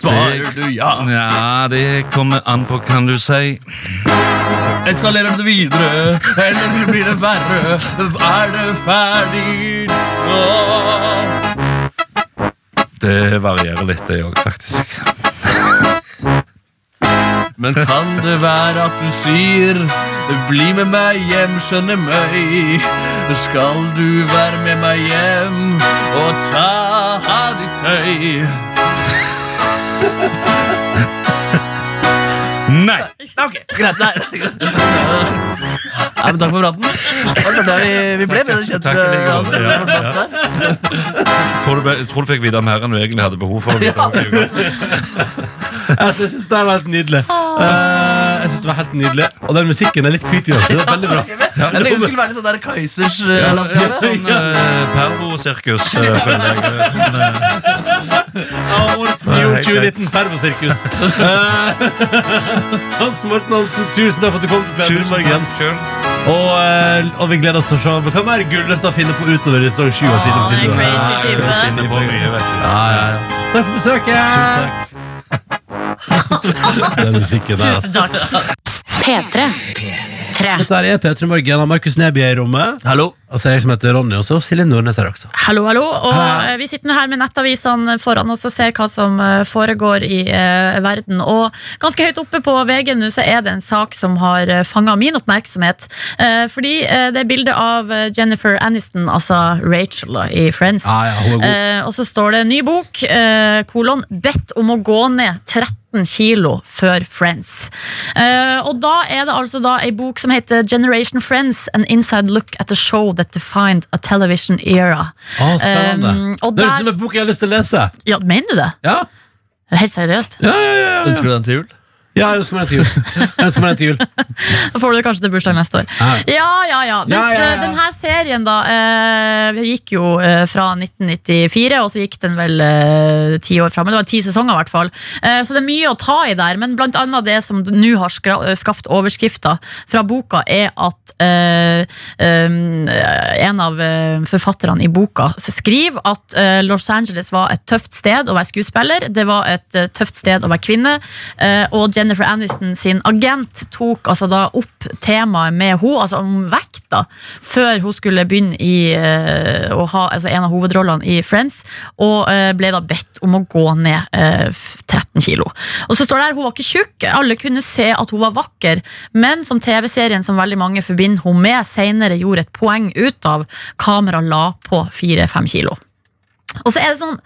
D: Svarer du ja?
A: Ja, det kommer an på hva du sier.
D: Eskalerer det videre, eller blir det verre? Er det ferdig nå?
A: Det varierer litt, det òg, faktisk.
D: Men kan det være at du sier Bli med meg hjem, skjønne meg Skal du være med meg hjem Og ta av ditt tøy
A: Nei!
M: Ok, greit. Nei, nei. Nei, men takk for praten. Det var klart Vi, vi ble bedre kjent.
A: Takk i like
M: eh, altså,
A: måte, ja,
M: det var fantastisk der.
A: Tror du, jeg tror du fikk vite mer enn du egentlig hadde behov for. å vite.
B: Altså, Jeg syns det var helt nydelig. Eh, jeg synes det var helt nydelig Og den musikken er litt creepy. Også. Det er veldig bra.
M: Jeg tenkte det skulle være litt sånn der Kaizers eh,
A: Ja, det er
M: landsliv.
A: Sånn uh, pervo-sirkus, eh, føler jeg. Men, eh,
B: Ja, Årets Neo 2019 Pervosirkus. Eh, Hans Morten Hansen, tusen takk for at du kom til P3
A: tusen
B: Morgen.
A: takk sjøl.
B: Og, eh, og vi gleder oss til å se hva mer Gullestad finner på utover i sesong 7 av
C: det er
B: Silum Silum.
C: crazy.
A: Nei,
C: type.
A: hun sitter på mye, vet du.
B: Ja, ja, ja. Takk for
A: Tusen
B: besøket.
A: takk.
B: Den musikken der, altså.
C: Tusen takk. P3. P3.
B: Dette her er P3 Morgen og Markus Neby er i rommet.
M: Hallo.
B: Altså, jeg som heter Ronny, og så Silje Nordnes her også.
C: Hallo, hallo. Og
B: Hallo.
C: eh, vi sitter nå her med nettavisene foran oss og ser hva som eh, foregår i eh, verden. Og ganske høyt oppe på VG nå så er det en sak som har eh, fanga min oppmerksomhet. Eh, fordi eh, det er bilde av eh, Jennifer Aniston, altså Rachel da, i Friends.
B: Ja, ja, hun er god.
C: Eh, og så står det ny bok, eh, kolon, bedt om å gå ned 13 kilo før Friends. Eh, og da er det altså da ei bok som heter Generation Friends, an inside look at a show that defined a television era.
B: Å, Ah, spennende.
C: Um, og
B: det
C: der-
B: er som en bok jeg har lyst til å lese.
C: Ja, mener du det?
B: Ja,
C: Helt seriøst?
B: ja, ja. ja, ja.
M: Ønsker du den til jul?
B: ja jeg ønsker meg den til jul. Jeg ønsker meg den til jul.
C: Da får du det kanskje til bursdag neste år.
B: Ja.
C: Ja, ja, ja. Mens
B: Ja, ja, ja.
C: eh, denne serien da eh, gikk jo eh, fra 1994, og så gikk den vel eh, ti år fram. eller Det var ti sesonger, i hvert fall. Eh, så det er mye å ta i der, men blant annet det som nå har skra- eh, skapt overskrifter fra boka, er at eh, um, en av eh, forfatterne i boka skriver at eh, Los Angeles var et tøft sted å være skuespiller, det var et eh, tøft sted å være kvinne, eh, og Jennifer Aniston sin agent tok altså da opp temaet med henne, altså om vekt da, før hun skulle begynne i eh, å ha altså en av hovedrollene i Friends, og eh, ble da bedt om å gå ned eh, f- 13 kilo. Og så står det her, hun var ikke tjukk, alle kunne se at hun var vakker, men som TV-serien som veldig mange forbinder hun med, senere gjorde et poeng ut av, kamera la på 4-5 kilo. Og så er det sånn,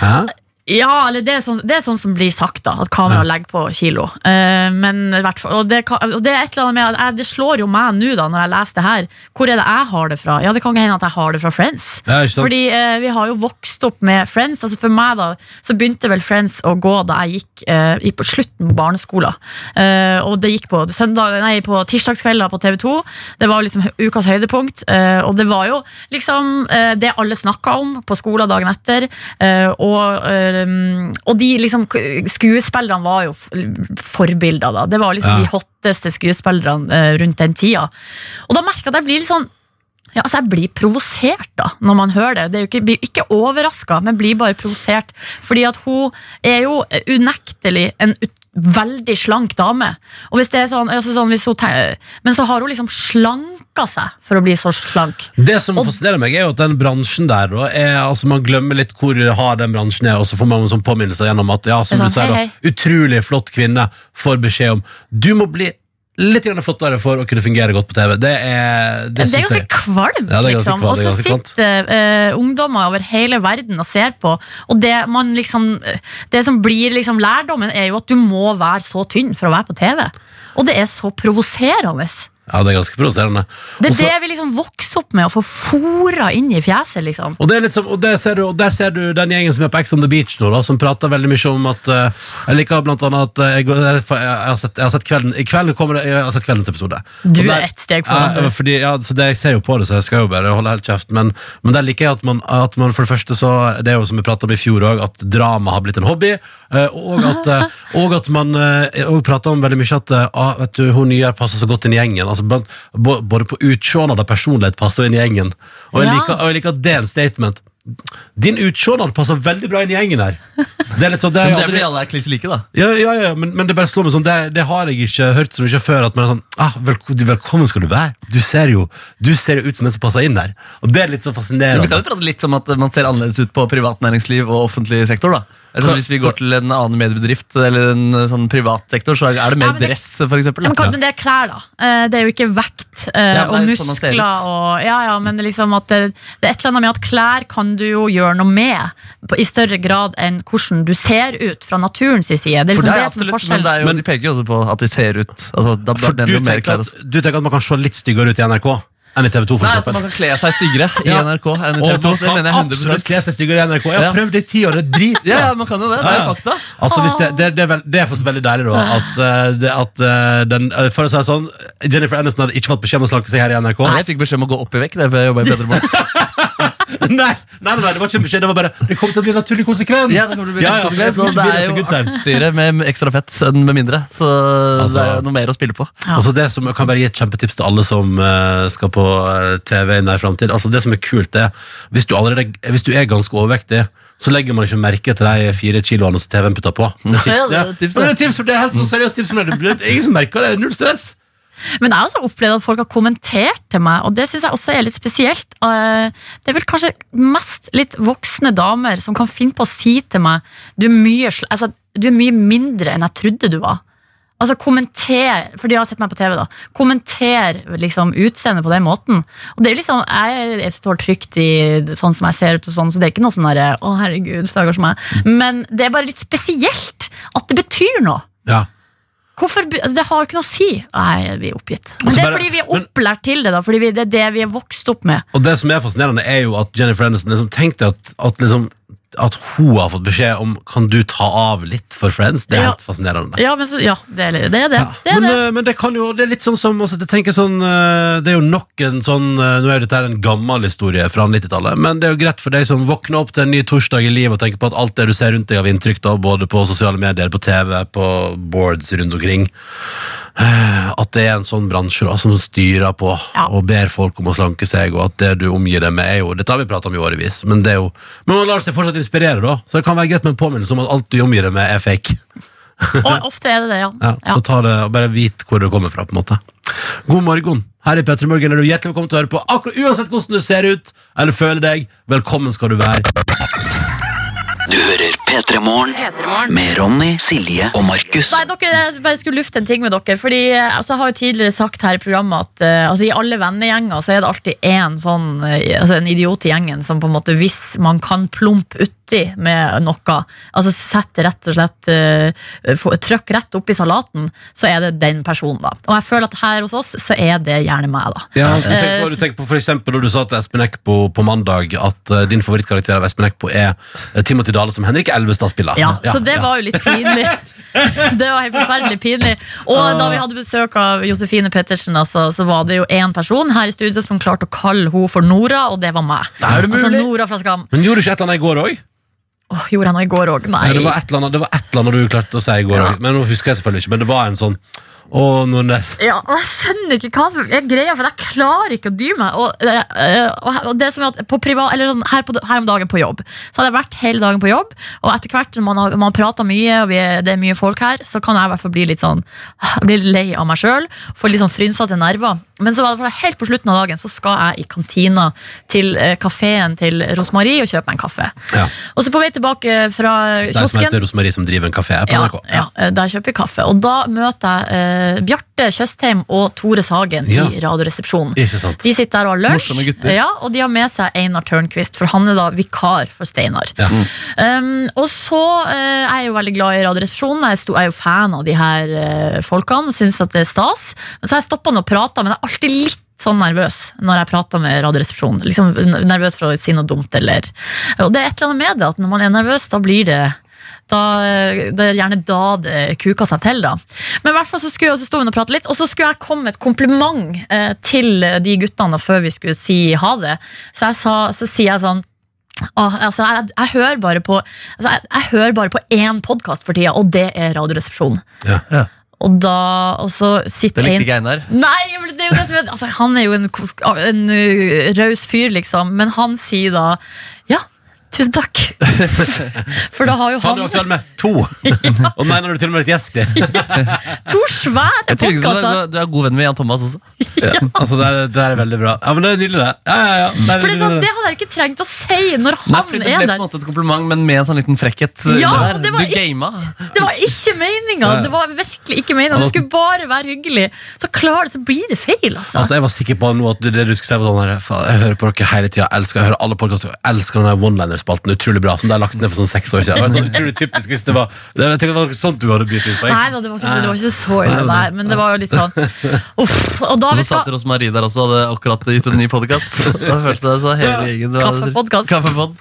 B: Hæ?
C: ja, eller det er, sånn, det er sånn som blir sagt, da. At kamera legger på kilo. Eh, men i hvert fall, og, det, kan- og det er et eller annet med at jeg, Det slår jo meg nå, da, når jeg leser det her. Hvor er det jeg har det fra? Ja, det kan ikke hende at jeg har det fra Friends.
B: Ja, ikke sant?
C: Fordi eh, vi har jo vokst opp med Friends. Altså For meg da Så begynte vel Friends å gå da jeg gikk, eh, gikk på slutten på barneskolen. Eh, og det gikk på, søndag, nei, på tirsdagskvelder på TV 2. Det var liksom hø- ukas høydepunkt. eh, og det var jo liksom eh, det alle snakka om på skolen dagen etter. eh, og, eh, og de liksom k- skuespillerne var jo f- forbilder, da. Det var liksom
B: Ja.
C: de hotteste skuespillerne eh, rundt den tida. Og da merker jeg at jeg blir litt sånn Ja, altså Jeg blir provosert da, når man hører det. det er jo ikke, blir ikke overraska, men blir bare provosert. Fordi at hun er jo unektelig en ut, veldig slank dame. Og hvis det er sånn, altså sånn hvis hun te- Men så har hun liksom slanka seg for å bli så slank.
B: Det som fascinerer meg, er jo at den bransjen der da, er, altså Man glemmer litt hvor hard den bransjen er, og så får man en sånn påminnelse gjennom at ja, som
C: Det er
B: du
C: sant.
B: sier,
C: Hei,
B: da, utrolig flott kvinne får beskjed om du må bli litt grann flottere for å kunne fungere godt på TV. Det er
C: Det,
B: det
C: er
B: synes
C: ganske
B: jeg-
C: kvalmt,
B: Ja, det er ganske
C: liksom.
B: kvalmt,
C: Og
B: det er
C: så
B: ganske kvalmt.
C: sitter eh, ungdommer over hele verden og ser på. Og det, man liksom, eh, det som blir liksom lærdommen, er jo at du må være så tynn for å være på TV. Og det er så provoserende.
B: Ja, det er ganske provoserende.
C: Det er det
B: Også-
C: vi liksom vokser opp med, å få fora inn i fjeset, liksom.
B: Og, det er litt som, og der, ser du, og der ser du den gjengen som er på Ex on the Beach nå, da, som prater veldig mye om at eh, Jeg liker blant annet at eh, jeg, går- jeg, har sett, jeg har sett kvelden I kveld kommer det, jeg har sett kveldens episode.
C: Du
B: Og
C: er
B: der-
C: ett steg foran,
B: Ja,
C: du.
B: fordi, ja, så det, Jeg ser jo på det, så jeg skal jo bare holde helt kjeft. Men, men der liker jeg at man, at man for det første så Det er jo som vi prata om i fjor òg, at drama har blitt en hobby. eh, Og at, eh, og at man òg prata om veldig mye at eh, ah, vet du, hun nye her passer så godt inn i gjengen. Altså, blant, bo- både på utseende og personlighet passer hun inn i gjengen. Og jeg,
C: Ja.
B: liker, og jeg liker at det er en statement. Din utseende passer veldig bra inn i gjengen her. Det er litt sånn, det har
D: Men
B: jeg
D: det er
B: aldri-
D: fordi alle er kliss like, da.
B: ja, ja, ja, men, men det bare slår meg sånn Det, det har jeg ikke hørt så mye før At man er sånn, ah, velk velkommen skal du være Du ser jo, du ser jo ut som en som passer inn der Og det er litt så
D: Men Vi kan
B: fascinerende
D: jo prate litt om at man ser annerledes ut på privat næringsliv og offentlig sektor. da Eller sånn, Hvis vi går til en annen mediebedrift eller en eh, sånn privat sektor, så er det mer dress, for eksempel.
C: Ja, men, hva-
D: da.
C: men det er klær, da. Eh, Det er jo ikke vekt eh,
D: Ja, men
C: og
D: det er jo sånn man ser
C: muskler
D: ut.
C: og Ja, ja, men liksom at det, det er et eller annet med at klær kan du jo gjøre noe med på, i større grad enn hvordan du ser ut fra naturens side. Det er
D: For
C: liksom
D: det er
C: det, som er
D: absolutt, men
C: forskjellen.
D: det er jo, de peker jo også på at de ser ut altså, da, da
B: For
D: blir det
B: du
D: jo mer
B: tenker,
D: klær
B: at, du tenker at man kan se litt styggere ut i NRK Enn i TV 2 for
D: Nei, altså, man
B: eksempel
D: kan kle seg styggere i
B: Ja.
D: NRK enn i
B: Og
D: TV 2.
B: man
D: Det
B: kan
D: mener jeg 100
B: absolutt kle seg styggere i NRK Jeg har
D: Ja.
B: prøvd det i ti år, det er dritbra
D: Ja, ja, man kan jo det. Det er jo
B: Ja.
D: fakta.
B: Altså, hvis det, det, det, er vel, det er faktisk veldig deilig da At, eh, det, at eh, den, eh, For å si det sånn Jennifer Aniston hadde ikke fått beskjed om å slanke seg her i NRK
D: Nei, jeg fikk beskjed om å gå opp i vekk. Det er jeg bedre med.
B: nei, nei, nei, nei, det var ikke en beskjed Det var bare, det kommer til å bli en naturlig konsekvens
D: Ja, det kommer til å bli
B: ja, ja, for
D: konsekvens,
B: det
D: og det
B: blir
D: er
B: så
D: jo
B: good times.
D: artigere med ekstra fett enn med mindre. Så
B: Altså-
D: det er jo noe mer å spille på.
B: Altså det som, jeg kan bare gi et kjempetips til alle som eh, skal på eh, TV i nær fremtid. Altså det som er kult er, hvis du, allerede, hvis du er ganske overvektig, så legger man ikke merke til de fire kiloene som TV-en putter på. Det er tips,
D: Ja,
B: det.
D: det er tips, det.
B: Men det er tips, for det er helt sånn seriøst tips. som det er. Det er Ingen som merker det, null stress.
C: Men jeg har også opplevd at folk har kommentert til meg, og det syns jeg også er litt spesielt. Eh, Det er vel kanskje mest litt voksne damer som kan finne på å si til meg du er mye, sl- altså, du er mye mindre enn jeg trodde du var. Altså kommenter, For de har sett meg på TV, da. Kommenter liksom utseendet på den måten. Og det er jo liksom, Jeg, jeg står trygt i sånn som jeg ser ut, og sånn, så det er ikke noe sånn derre Å, herregud, stakkars meg. Men det er bare litt spesielt at det betyr noe.
B: Ja.
C: Hvorfor, be- altså det har jo ikke noe å si. Nei, vi er oppgitt. Men
B: Altså
C: det er
B: bare-
C: fordi vi er opplært til det, da. Fordi vi, det er det vi er vokst opp med.
B: Og det som er fascinerende er jo at Jennifer Aniston liksom tenkte at, at, liksom, at hun har fått beskjed om kan du ta av litt for Friends. Det er
C: Ja.
B: helt fascinerende.
C: Ja, men så, ja det er det. Det er det. det, er
B: men,
C: det.
B: eh, men det kan jo, det er litt sånn som altså, jeg tenker sånn, eh, Det er jo nok en sånn eh, Nå er jo dette her en gammel historie fra 90-tallet Men det er jo greit for deg som våkner opp til en ny torsdag i livet Og tenker på at alt det du ser rundt deg av inntrykk da, Både på sosiale medier, på TV, på boards rundt omkring eh, At det er en sånn bransje da, som styrer på Og ber folk om å slanke seg Og at det du omgir deg med er jo Dette har vi pratet om i årevis Men, det er jo, men man lar seg fortsatt inspirere da Så det kan være greit med en påminnelse om at alt du omgir deg med er fake
C: Og ofte er det det, ja.
B: eh, ja, Så ta det og bare vit hvor det kommer fra. på en måte God morgen. Her i Petter Morgen er du hjertelig velkommen til å høre på akkurat uansett hvordan du ser ut eller føler deg. Velkommen skal du være.
A: Du hører P3 Morgen med Ronny, Silje og Markus.
C: Nei, dere, jeg bare skulle lufte en ting med dere. Fordi eh, altså, Jeg har jo tidligere sagt her i programmet at eh, altså, i alle vennegjenger så er det alltid én sånn eh, altså, En idiot i gjengen som på en måte hvis man kan plumpe uti med noe, altså sette rett og slett eh, få- Trykk rett oppi salaten, så er det den personen, da. Og jeg føler at her hos oss så er det gjerne meg, da.
B: Ja, du tenker,
C: Eh,
B: på- du tenker på for eksempel, når du sa til Espen Eckbo på mandag at eh, din favorittkarakter av Espen Eckbo er eh, Timothy Dale som Henrik Elvestad spiller.
C: Ja, så det
B: ja.
C: var jo litt pinlig. Det var helt forferdelig pinlig. Og
B: Ah.
C: da vi hadde besøk av Josefine Pettersen, altså, så var det jo én person her i studio som klarte å kalle henne for Nora, og det var meg.
B: Er det
C: Altså
B: mulig?
C: Nora fra Skam.
B: Men gjorde du ikke et eller annet i går òg?
C: Åh, gjorde jeg noe i går òg? Nei.
B: Det var et eller annet det var et eller annet du klarte å si i går òg. Men nå husker jeg selvfølgelig ikke, men det var en sånn og Nordnes.
C: Ja, og jeg skjønner ikke hva som er greia, for jeg klarer ikke å dy meg. Og, eh, og- og det som er at på privat, eller sånn, her, på, her om dagen på jobb Så hadde jeg vært hele dagen på jobb, og etter hvert når man, har- man prater mye, og vi er, det er mye folk her, så kan jeg i hvert fall bli litt sånn ah, Bli lei av meg sjøl. Få litt sånn frynsete nerver. Men så var det for det helt på slutten av dagen Så skal jeg i kantina til eh, kafeen til Rosmarie og kjøpe meg en kaffe.
B: Ja.
C: Og så på vei tilbake fra
B: Det er en som
C: kiosken
B: heter Rosemarie som driver en kafé på
C: ja,
B: NRK.
C: ja, eh, der kjøper vi kaffe. Og da møter jeg eh, Bjarte Tjøstheim og Tore Sagen
B: Ja.
C: i Radioresepsjonen.
B: Ikke sant?
C: De sitter der og har
B: Morsomme
C: lunsj,
B: gutter.
C: ja, og de har med seg Einar Tørnquist, for han er da vikar for Steinar.
B: Ja.
C: Um, og så eh, er jeg jo veldig glad i Radioresepsjonen. Jeg er sto- jeg er jo fan av de her eh, folkene og syns at det er stas. Men så har jeg stoppa og prata, men jeg er alltid litt sånn nervøs når jeg prater med Radioresepsjonen. Liksom n- nervøs for å si noe dumt, eller Og det er et eller annet med det, at når man er nervøs, da blir det da, eh, det er gjerne da det kuker seg til, da. Men i hvert fall så skulle jeg også stå og prate litt, og så skulle jeg komme med et kompliment eh, til de guttene før vi skulle si ha det. Så, jeg sa, så sier jeg sånn Ah, altså, jeg, jeg hører bare på altså, jeg, jeg hører bare på én podkast for tida, og det er Radioresepsjonen.
B: Ja.
C: Og da og så sitter
D: Det likte
C: en-
D: ikke Einar.
C: Nei, men det er jo det som er altså, Han er jo en, ko- en uh, raus fyr, liksom. Men han sier da Ja, tusen takk. For da har jo
B: Faen, du
C: han
B: er aktuell med to! Og den ene har du til og med litt gjest i.
C: to svære
D: Jeg tenker ikke
C: podkaster!
D: sånn, Du er god venn med Jan Thomas også.
B: Ja, altså, det, er, det er veldig bra. Ja, men Det er nydelig, det. Ja, ja, ja.
C: For
B: Det er
C: det, er
B: nydelig,
C: sånn,
B: det.
C: det hadde jeg ikke trengt å si når
D: Nei,
C: han
D: fordi det ble
C: er
D: på
C: der.
D: en måte et kompliment, men med en sånn liten frekkhet. under
C: Ja, og
D: der.
C: det
D: du
C: var ikke-
D: gama.
C: Det var ikke meninga!
B: Ja.
C: Det var virkelig ikke meninga. Det skulle bare være hyggelig. Så klar, så blir det feil, altså.
B: Altså, Jeg var sikker på nå at det du skulle si var sånn her faen, Jeg hører på dere hele tida, jeg elsker jeg hører alle podkaster, jeg elsker den der one-liner-spalten. Utrolig bra. Som de har lagt ned for sånn seks år siden. Det var sånn utrolig typisk hvis det var det, Jeg tenker det var sånt du hadde byttet ut på.
C: Nei da, det var ikke, så- det var ikke så ille, nei. Men det var jo litt sånn Uff. Og da
D: Og
C: vi
D: så
C: skal
D: satt Rosmarie der også og hadde akkurat gitt ut en ny podkast. Da følte jeg så hele gjengen
C: Kaffepodkast.
D: Kaffepod.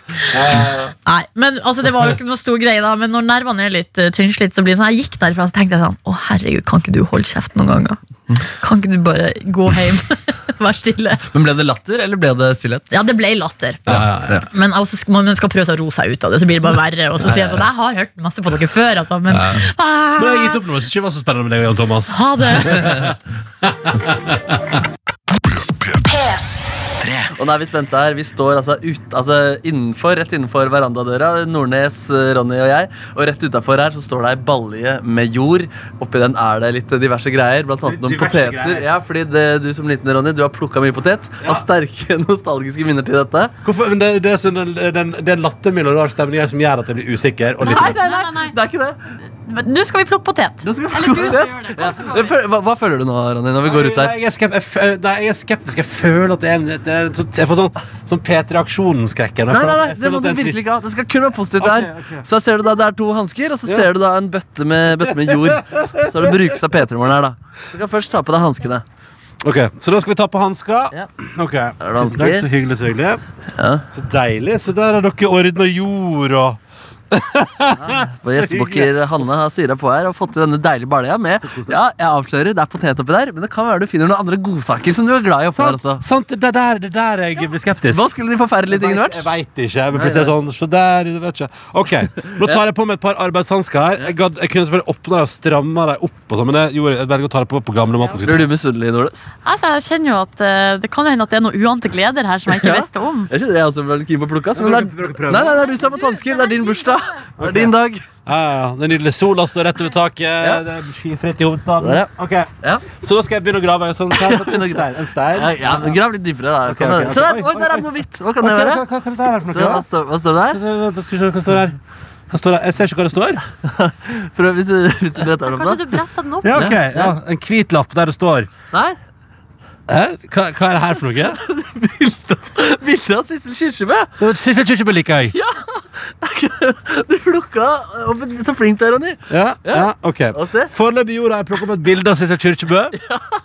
C: Nei, men altså, det var jo ikke noe stor greie da Men når nervene er litt uh, tynnslitt, så blir det sånn Jeg gikk derfra, så tenkte jeg sånn Å herregud, kan ikke du holde kjeft noen ganger? Kan ikke du bare gå hjem? Vær stille.
D: Men ble det latter, eller ble det stillhet?
C: Ja, det ble latter.
D: ja, ja.
C: Men altså, sk- man skal prøve seg å roe seg ut av det, så blir det bare verre. Og så sier jeg sånn, jeg har hørt masse på dere før, altså, men
B: Ja.
C: Ah,
B: Men jeg har gitt opp nå, så ikke var så spennende med deg og Jan Thomas.
C: ha det.
D: Og nå er vi spente her. Vi står altså, ut, altså innenfor, rett innenfor verandadøra. Nordnes, eh, Ronny og jeg. Og rett utafor her så står det ei balje med jord. Oppi den er det litt diverse greier. Blant annet noen
L: Diverse
D: poteter.
L: greier.
D: Ja, fordi det, du som liten Ronny, du har plukka mye potet. Har sterke nostalgiske minner til dette.
B: Hvorfor, men det, det er sånn, den, den, den lattermilde og rar stemningen her som gjør at jeg blir usikker. Og litt
D: Nei, nei, nei, det er ikke det.
C: Men nå skal vi plukke potet. Eller du skal gjøre det.
D: Ja. Hva, hva føler du nå, Ronny, når vi går ut
B: Nei,
D: her?
B: Jeg er, skep jeg, f- eh, nei, jeg er skeptisk. Jeg føler at det er en det er, en sånn- Jeg får sånn, sånn P3 Aksjonen-skrekken.
D: Nei, nei, nei, det må du virkelig ikke ha. Det skal kun være positivt der. Så her ser du da, det er to hansker, og så
B: Ja.
D: ser du da en bøtte med, bøtte med jord. Så det brukes av P3-morgen her, da. Du kan først ta på deg hanskene.
B: Ok, Så da skal vi ta på hanska. Ok,
D: det
B: Tusen takk,
D: hansker?
B: Så hyggelig, så hyggelig. Så deilig. Så der har dere ordna jord og
D: Vår gjestebukker Hanne har styra på her og fått i denne deilige balja med Ja, jeg avslører, det er potet oppi der, men det kan være du finner noen andre godsaker som du er glad i oppi der også.
B: Sant, det er der, det er der jeg blir skeptisk.
D: Hva skulle de forferdelige tingene vært?
B: Jeg veit ikke. Men plutselig er det sånn, så der, jeg vet ikke. Ok, Nå tar jeg på meg et par arbeidshansker. her Jeg, gadd- jeg kunne selvfølgelig åpna dem og stramma dem opp, og sånn, men jeg, gjorde, jeg velger å ta dem på på gamle måten.
D: Blir du misunnelig, Nordnes?
C: Altså, jeg kjenner jo at eh, det kan hende at det er noen uante gleder her som jeg ikke
D: Ja.
C: visste om.
D: Jeg kjenner jeg også ble keen på å plukke, ass, men det er, nei, nei, det er du som har fått hansker. Det er din bursdag. Det er din dag.
B: Ja, ja, ja. Den nydelige sola står rett over taket. Det er skyfritt i hovedstaden.
D: Der, ja.
B: Ok. Så da skal jeg begynne å grave. Sånn, sånn, en stein. En stein.
D: Ja, Eh, ja, men Grav litt dypere. da.
B: ok, ok.
D: Se der! Oi, der er det noe hvitt! Hva kan det
B: Ok,
D: være?
B: hva- hva- hva er det der for noe,
D: Se, hva,
B: da?
D: står, hva står det der?
B: Da skal vi se hva det står her. Hva står det? Jeg ser ikke hva det står.
D: Prøv hvis du, hvis du bretter den opp, da.
C: bretta den
B: Ja, ok. Ja, en hvit lapp der det står
D: Nei,
B: Hæ? Hva, hva er det her for noe?
D: Bilde av Sissel Kyrkjebø!
B: Sissel Kyrkjebø liker jeg.
D: Du plukka opp et Så flink du er, Ronny.
B: Ja, ja, ok Foreløpig jorda har jeg plukket opp et bilde av Sissel Kyrkjebø.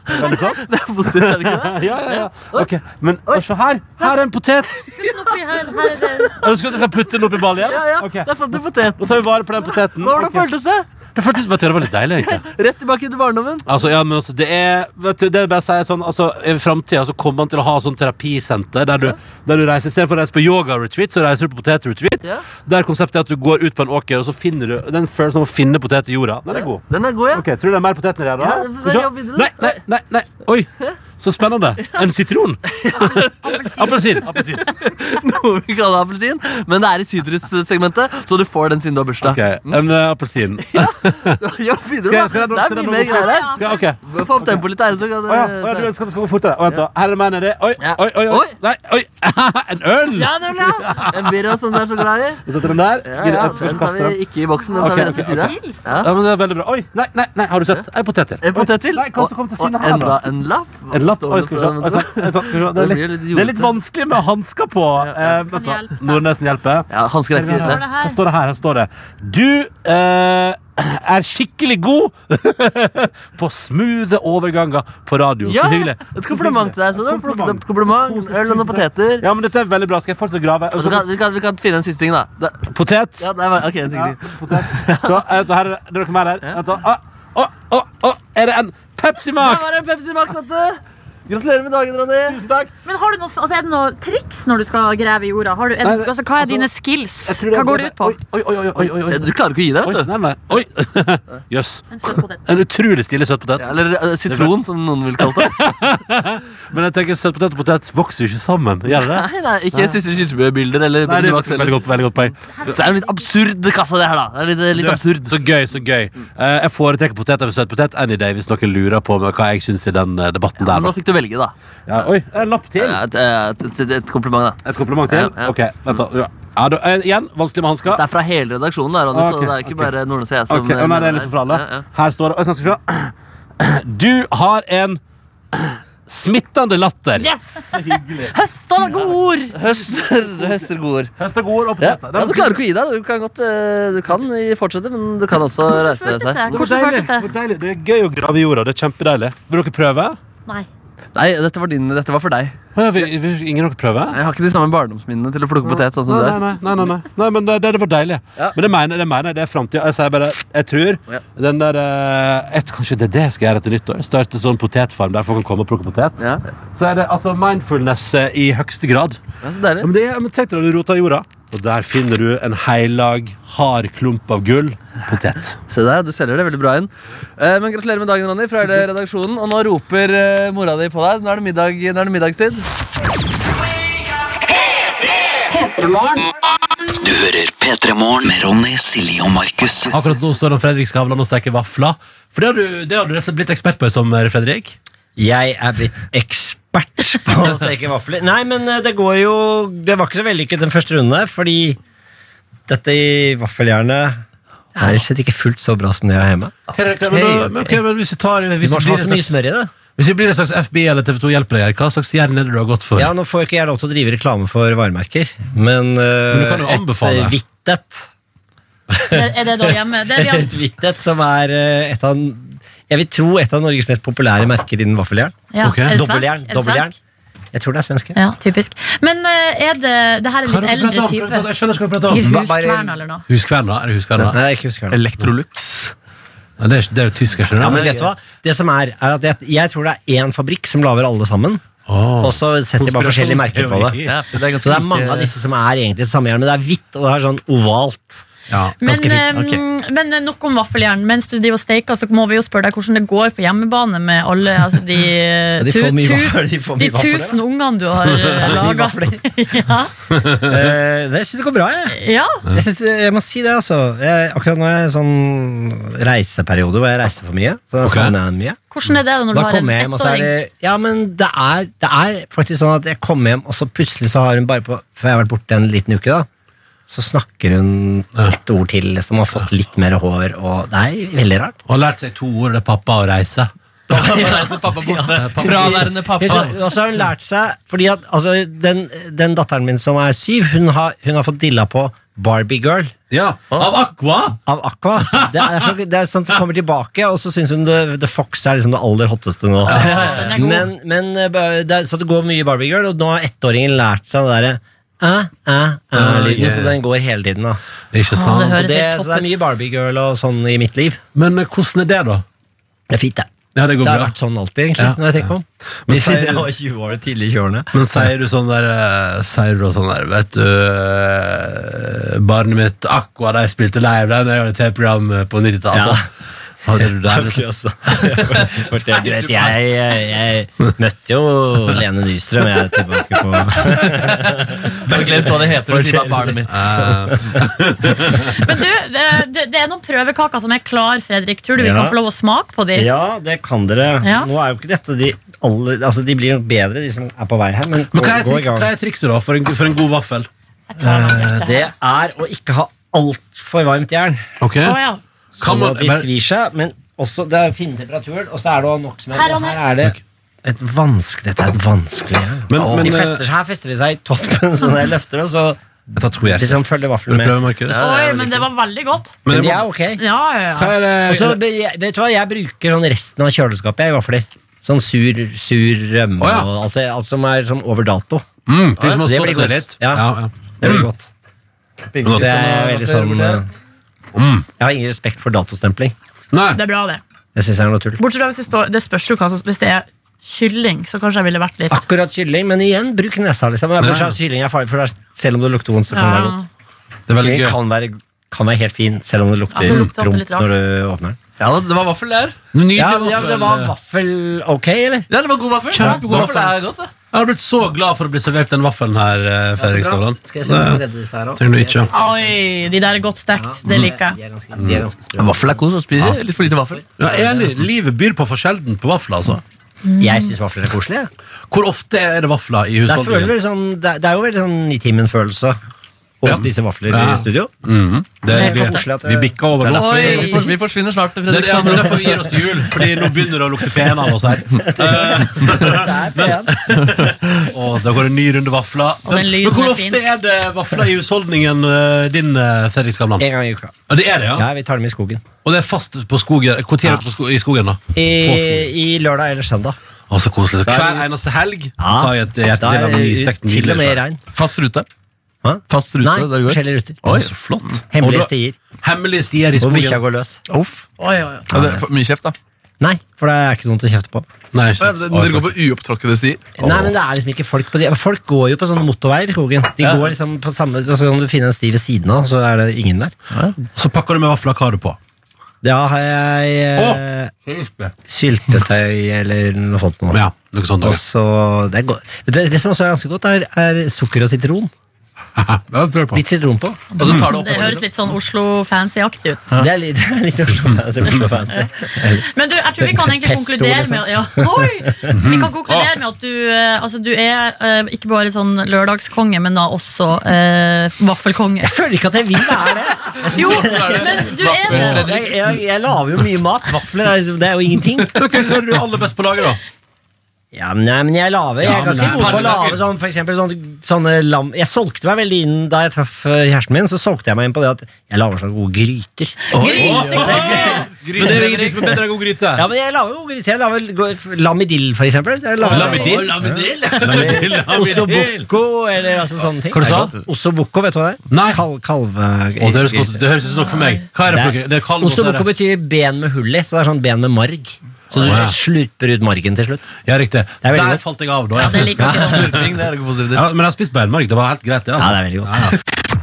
B: Veldig flott.
D: Det er positivt, er det ikke det?
B: Ja, ja, ja. Ok, Men og se her! Her er en potet. Er du skal jeg skal putte den oppi baljen?
D: Ja, ja.
B: Ok.
D: Der fant du potet.
B: Da tar vi vare på den poteten.
D: Hvordan
B: Ok.
D: føltes det?
B: Det, er faktisk, vet du, det var litt deilig, egentlig.
D: Rett tilbake til barndommen.
B: Altså, ja, men altså, det er vet du, det er bare å si sånn, altså, I framtida så kommer man til å ha sånn terapisenter der du, der du reiser istedenfor å reise på yoga-retreat, så reiser du på potet-retreat. Der konseptet er at du går ut på en åker, og så finner du den følelsen av å finne potet i jorda. Den er god.
D: Den er god, ja.
B: Ok, tror du det er mer potet nedi her, da?
D: Ja, bare
B: Skal vi se?
D: jobb videre,
B: nei, nei, nei, nei. Oi, så spennende. En sitron. Appelsin. Appelsin.
D: Noe vi kaller appelsin, men det er i sitrussegmentet, så du får den siden du har bursdag.
B: Ok, En eh, appelsin.
D: Jobb videre,
B: Skal
D: da.
B: jeg- skal jeg-
D: det
B: skal
D: er mye
B: jeg dra
D: mer
B: noe
D: greier her.
B: fort? Skal- ok.
D: Få opp tempoet litt her, så kan
B: Å ja, å ja, du ønsker at det skal gå fortere. Å, vent da. Her er mer nedi. Oi, oi, oi. oi. Nei, oi. en øl!
D: Ja, det er bra! En birra som du er så glad i.
B: Vi setter den der.
D: Ja,
B: Gir det
D: ja,
B: et,
D: den
B: skal ikke kaste
D: tar vi ikke i boksen, den tar vi
B: Ok,
D: rett ved
B: ok,
D: siden.
B: ok.
D: Ja.
B: Ja, men det er veldig bra. Oi, nei, nei, nei, har du sett? En potet til.
D: En potet til.
B: Nei, kom, så kom til
D: Eh, Og, og
B: siden her,
D: enda
B: da.
D: en lapp.
B: En lapp.
D: Står
B: Oi,
D: det
B: skal vi
D: på
B: se.
D: den,
B: Oi,
D: tror
B: sånn,
D: jeg?
B: sånn, skal vi se. Det
D: Det
B: er
D: blir
B: litt,
D: litt
B: det er litt vanskelig med hansker på. Eh, vent da. Nordnesen hjelper.
D: Ja, hansker er ikke
B: Her
D: ille.
B: Her står det her. her står det. Du eh, er skikkelig god på smoothe overganger på radio.
D: Ja,
B: så hyggelig.
D: et kompliment til deg. Så du har plukket opp et kompliment, øl og noen poteter.
B: Ja, men dette er veldig bra. Skal jeg fortsette å grave?
D: Og så kan, vi, kan, vi kan finne en siste ting, da. da.
B: Potet.
D: Ja, nei, bare- ok, en ting til.
B: Så, eh, vent da, her er det- det er noe mer her. Vent da. Å, å, å, å, er det en Pepsi
D: Der
B: Max?
D: var det en Pepsi Max, vet du. Gratulerer med dagen, Ronny.
B: Tusen takk.
C: Men har du noe, altså, er det noe triks når du skal grave i jorda? Har du, er,
B: Nei,
C: altså, hva er dine skills? Hva går det ut på?
B: Oi, oi, oi, oi, oi, oi.
D: Se, Du klarer ikke å gi deg,
B: Oi,
D: vet du.
B: nei, nei. Oi. Jøss. En utrolig stilig søt potet.
D: Ja, Eller eh, sitron, som noen vil kalle det.
B: Men jeg tenker søt potet og potet vokser jo ikke sammen. Gjør det det?
D: Nei, nei, ikke Sissel Kyrkjebø-bilder eller
B: Nei,
D: Pepsi
B: det
D: Max.
B: er
D: Eller.
B: veldig godt, veldig godt poeng.
D: Så er det en litt absurd kasse, det her, da. Det er litt, eh, litt
B: Du,
D: absurd. Mm.
B: Så gøy, så gøy. Eh, jeg foretrekker potet over søt potet any day hvis noen lurer på meg hva jeg syns i den eh, debatten der.
D: Men nå
B: da.
D: fikk du velge, da.
B: Ja, oi, en lapp til.
D: Ja, Et, eh, et, et, et kompliment, da.
B: Et kompliment til?
D: Ja, ja.
B: Ok, vent da. Ja. Ja, da, eh, igjen, vanskelig med hansker.
D: Det er fra hele redaksjonen, da, Ronny, så
B: Ah, Ok,
D: det er ikke
B: ok.
D: bare Nordnes og jeg som
B: Ok, å nei, det er liksom for alle. Her står det Oi, sånn, skal vi se. Du har en smittende latter.
C: Yes! Høsta gode ord!
D: Høst, høster gode ord.
B: Høster gode ord og
D: Ja.
B: poteter.
D: ja, Du klarer ikke å gi deg. Du kan godt eh, Du kan i- fortsette, men du kan også reise
C: føltes
D: seg.
C: det?
B: Det var
C: Hvordan
B: deilig.
C: føltes det?
B: Det var deilig. Det er gøy å grave i jorda. Det er kjempedeilig. Vil dere prøve?
C: Nei.
D: Nei, dette var, din, dette var for deg.
B: Å, ja, vil, vil ingen dere prøve?
D: Jeg har ikke de samme barndomsminnene til å plukke potet. Sånn som
B: Nei,
D: du
B: nei,
D: er.
B: nei, nei, nei, nei. nei men det, det var deilig.
D: Ja.
B: Men det mener, det mener jeg, det er framtida. Jeg sier bare jeg tror
D: Ja.
B: den der eh, et, Kanskje det er det jeg skal gjøre etter nyttår? Starte sånn potetfarm der folk kan komme og plukke potet.
D: Ja.
B: Så er det altså mindfulness eh, i høyeste grad.
D: Det er så
B: Ja,
D: deilig.
B: men det, er- men Tenk deg at du roter i jorda, og der finner du en heilag, hard klump av gull. Potet.
D: Se der, du selger det veldig bra inn. Eh, men gratulerer med dagen, Ronny, fra hele redaksjonen. Og nå roper eh, mora di på deg. Nå er det, middag, nå er det middagstid.
A: Du hører P3 Morgen med Ronny, Silje og Markus.
B: Akkurat nå står det om Fredrik Skavlan og steker vafler. For det har du, det har du rett og slett blitt ekspert på som eh, Fredrik.
N: Jeg er blitt ekspert på å steke vafler. Nei, men eh, det går jo Det var ikke så vellykket den første runden, der, fordi dette i vaffeljernet er rett og slett ikke fullt så bra som det jeg har hjemme.
B: Ok, men, da, men, ok, men hvis vi tar hvis
N: Du må
B: vi
N: ha
B: blir
N: for
B: en
N: mye
B: slags-
N: smør i det.
B: Hvis vi blir en slags FBI eller TV 2 hjelper deg, hva slags jern er det du har gått for?
N: Ja, Nå får ikke jeg lov til å drive reklame for varemerker, men, eh,
B: Men du kan jo anbefale.
N: et hvitt et
C: Er er det da hjemme? Det er vi
N: Et hvitt et som er eh, et av Jeg vil tro et av Norges mest populære merker innen vaffeljern.
C: Ja, Ok. er det svensk? Er
N: Dobbeljern.
C: det
N: Dobbeljern. Jeg tror det er svenske.
C: Ja, typisk. Men eh, er det Det her er litt
B: Hva er det du prater
C: eldre
B: om?
C: type.
B: Jeg skjønner hva du prater om.
C: Sikkert
N: Ba- bare-
C: huskvern eller noe.
B: Huskverna? Er det huskverna?
N: Nei, ikke husker jeg.
D: Electrolux.
B: Ja, Det, er, ikke- det er jo tysk, jeg skjønner.
N: Ja, men vet du hva? Det som er, er at jeg, jeg tror det er én fabrikk som lager alle sammen.
B: Åh.
N: Og så setter de bare forskjellige merker på det.
D: Ja, for det er ganske
N: Så det er
D: like-
N: mange av disse som er egentlig det samme jernet, men det er hvitt og det er sånn ovalt.
B: Ja.
C: Men,
N: Ganske fint.
C: eh, men eh, nok om vaffeljern. Mens du driver og steker, så må vi jo spørre deg hvordan det går på hjemmebane med alle altså, de, eh,
N: de
C: tu-
N: får mye
C: tus-
N: vaffel, de får mye
C: de
N: vaffel, ja.
C: tusen ungene du har laga. ja.
N: Eh, det syns jeg går bra, jeg.
C: ja.
N: Jeg, synes, jeg må si det, altså. Jeg, akkurat nå er jeg i sånn reiseperiode hvor jeg reiser for mye. Så jeg
B: Ok.
N: savner jeg mye.
C: Hvordan er det da når
N: Da
C: du har en
N: kommer jeg hjem, og så er det
C: ettåring?
N: Ja, men det er, det er faktisk sånn at jeg kommer hjem, og så plutselig så har hun bare på For jeg har vært borte en liten uke, da. Så snakker hun et ord til, liksom, og har fått litt mer hår, og det er veldig rart.
B: Og har lært seg to ord, det er pappa og reise.
D: Pappa borte. Fraværende
N: Jeg
D: pappa.
N: skjønner, sånn, Og så har hun lært seg Fordi at altså, den, den datteren min som er syv, hun har, hun har fått dilla på Barbie Girl.
B: Ja. Av Aqua!
N: Av Aqua. Det er, så, det er sånt som kommer tilbake, og så syns hun The, The Fox er liksom det aller hotteste nå.
C: Den er god.
N: Men, men eh, det er, så det går mye Barbie Girl, og nå har ettåringen lært seg det derre æ, æ,
B: Ah,
N: æ-lyden,
B: yeah.
N: så den går hele tiden. da
B: Ikke sant?
N: Og det, så det er mye Barbie Girl og sånn i mitt liv.
B: Men eh, hvordan er det, da?
N: Det er fint, det.
B: Ja, det, går
N: har
B: bra.
N: vært sånn alltid, egentlig.
B: Ja.
N: når jeg tenker meg om
B: Men
N: Vi sier
B: sier-
N: jeg var 20 år, tidlig i 20-årene.
B: Men sier du sånn der eh, Sier du da sånn der Vet du eh, Barnet mitt Aqua De spilte live der Når jeg gjorde et program på 90-tallet
N: Ja.
B: altså. Hadde du der liksom?
N: Fortell, du vet, jeg, jeg, jeg møtte jo Lene Nystrøm, jeg er tilbake på
D: Bare glemt hva det heter, og si bare barnet mitt.
C: Men du, det, det det er noen prøvekaker som er klar, Fredrik. Tror du vi
N: Ja.
C: kan få lov å smake på de?
N: Ja, det kan dere.
C: Ja.
N: Nå er jo ikke dette de alle Altså, de blir nok bedre, de som er på vei her, men,
B: Men hva er,
N: gå i
B: triks,
N: gang.
B: hva er trikset da For en, for en god vaffel?
N: Eh, Det er å ikke ha altfor varmt jern.
B: Ok. Å, ja. Kan
N: Sånn
B: man-
N: at de
B: men-
N: svir seg, men også det er fin temperatur, og så er det å ha nok smør.
B: Her,
N: Og
B: Anne.
N: her er det et vanskelig Dette er et vanskelig jern.
B: Men-
N: Åh.
B: men,
N: de
B: eh,
N: fester, her fester de seg i toppen, så når jeg løfter dem, så
B: Jeg tar to hjerter.
N: Liksom følger
B: Vil
N: vaflene
B: du
N: med.
B: prøve,
N: Ja,
B: Markus?
N: det er
C: Oi,
N: veldig
C: men det var veldig godt.
N: Men Men de er ok.
C: Ja, ja, ja.
N: Og så be- jeg- vet du hva, jeg bruker sånn resten av kjøleskapet jeg, i vafler. Sånn sur, sur rømme
B: Å, ja.
N: og alt, det- alt som er som over dato.
B: Mm, ting som har
N: Det
B: stått
N: blir
B: seg
N: godt.
B: litt.
N: Ja.
B: Ja, ja.
N: Det blir
B: Mm.
N: godt. Det er veldig sånn eh, Jeg har ingen respekt for datostempling.
C: Det er bra, det.
N: Jeg syns det er noe tull.
C: Bortsett fra hvis det står Det spørs jo hva som Hvis det er kylling, så kanskje jeg ville vært litt
N: Akkurat kylling, men igjen, bruk nesa. Liksom. Men Kanskje
C: Ja.
N: kylling er farlig, for det er- selv om det lukter vondt, så kan det
C: Ja.
N: være godt. Kylling Kan være, kan være helt fin, selv om det lukter
D: Ja, det lukter alltid litt
N: prompt
D: rart.
N: når du åpner den.
D: Ja, det var vaffel der.
N: Ja, ja, det
B: eh,
N: var vaffel ok, eller?
D: Ja, det var god vaffel.
B: Kjempegod
D: God vaffel
B: vaffel.
D: er godt, det.
B: Jeg har blitt så glad for å bli servert den vaffelen her eh, Fredrik
N: så bra.
B: Skavlan
N: Skal jeg se om jeg redder disse her også?
B: Trenger du ikke
C: Oi, de der er godt stekt. Det liker jeg.
D: Vaffel er kos å spise. Litt for lite vaffel.
B: ja, jeg er enig. Livet byr på for sjelden på vafler altså.
N: Jeg syns vafler er koselig. jeg.
B: Hvor ofte er det vafler i
N: Det er, føles
B: husholdningen?
N: veldig sånn, det er- det er jo veldig sånn i timen-følelse å spise vafler
B: Ja.
N: i studio.
B: Mhm. Det
N: Det er
B: er, vi,
N: koselig at det-
B: vi bikker over
N: Det er
B: nå.
N: derfor vi- Oi.
D: Eh, Vi, for, vi forsvinner snart.
B: Det er det- ja, men derfor vi gir oss til jul, Fordi nå begynner det å lukte pen av oss her. Eh, Å, da går det en ny runde vafler.
C: Og den
B: Men,
C: lyden
B: men hvor
C: er
B: ofte
C: fin.
B: er det vafler i husholdningen eh, din, eh, Fredrik Skavlan?
N: En gang i uka.
B: Ja, det er det, ja.
N: Ja, Vi tar dem i skogen.
B: Og det er fast på skogen? Hvor tid er det på sko i skogen, da? På skogen.
N: I, i lørdag eller søndag.
B: Å, så koselig.
N: Da er
B: Hver
N: det-
B: eneste helg
N: Ja.
B: tar jeg et hjerte
N: Da
B: til
N: er
B: av nystekt
N: det til og med i
B: nydelig
N: regn.
D: Fast rute.
N: Hæ?
D: Fast rute
N: Nei,
D: der det går.
N: forskjellige ruter.
D: Oi, så flott.
N: Hemmelige
D: Og da-
N: stier.
B: Hemmelige stier i
N: Hvor
B: skogen.
N: bikkja går løs.
D: Uff.
C: Oi, oi, oi.
D: Ja, det er for mye kjeft, da.
N: Nei, for det er ikke noen til å kjefte på.
B: Nei,
D: Ja, men Dere går på uopptråkkede stier.
N: Nei, men det er liksom ikke Folk på de Folk går jo på sånne motorveier i skogen. De
D: Ja.
N: går liksom på samme Så kan du finne en sti ved siden av, så er det ingen der.
B: Så pakker du med vafler. Hva har du på?
N: Da har jeg eh, syltetøy eller noe sånt. Noe.
B: Ja, noe sånt
N: Og
B: også.
N: så- det, er godt. Vet du, det som også er ganske godt, er, er sukker og sitron.
B: Ja, prøv på.
N: Litt sitron på.
D: Og så tar du opp
C: Det høres litt sånn Oslo-fancy-aktig ut.
N: Det er litt, det er litt Oslo fancy. Oslo fancy.
C: Men du, jeg tror vi kan egentlig
N: Pesto,
C: konkludere
N: liksom.
C: med at- ja. Oi! Vi kan konkludere med at du, eh, altså, du er eh, ikke bare sånn lørdagskonge, men da også eh, vaffelkonge.
N: Jeg føler ikke at jeg vil være det. synes-
C: Jo, men du er det.
N: Jeg, jeg, jeg lager jo mye mat. Vafler er, liksom- det er jo ingenting.
B: Hva er du aller best på laget, da?
N: Ja, men, nei, men jeg lager. Jeg
B: Ja,
N: er
B: men
N: ganske
B: det er
N: god på å
B: pannekaker.
N: lage sånn, for eksempel sånne, sånne lam... Jeg solgte meg veldig inn da jeg traff eh, kjæresten min. Så solgte jeg meg inn på det at jeg lager sånne gode gryter.
B: Men det er jo ingenting som er bedre enn god gryte.
N: Ja, men jeg lager jo gode gryter. Jeg lager go- lamedill, for eksempel. Jeg lager-
B: Lamedill?
D: Lamedill?
B: Lamedill, lamedill.
N: Ossobuco, eller altså sånne ting.
B: Hva du sa du?
N: Ossobuco, vet du hva det er?
B: Nei.
N: Kal kalve...
B: Å, det høres godt ut. Det høres ut som noe for meg. Hva er det for noe? Det er kalv, og så er
N: Ossobuco
B: det-
N: betyr ben med hull i, så det er sånn ben med marg. Så du
B: Å, ja.
N: slurper ut margen til slutt.
B: Ja, riktig.
N: er veldig
B: Der
N: godt.
B: falt jeg av, da.
N: Ja, det liker jeg ikke.
D: Slurping, det er det ikke positivt.
B: Ja, men jeg har spist beinmarg. Det var helt greit, det.
N: Ja,
B: altså.
N: det er veldig godt.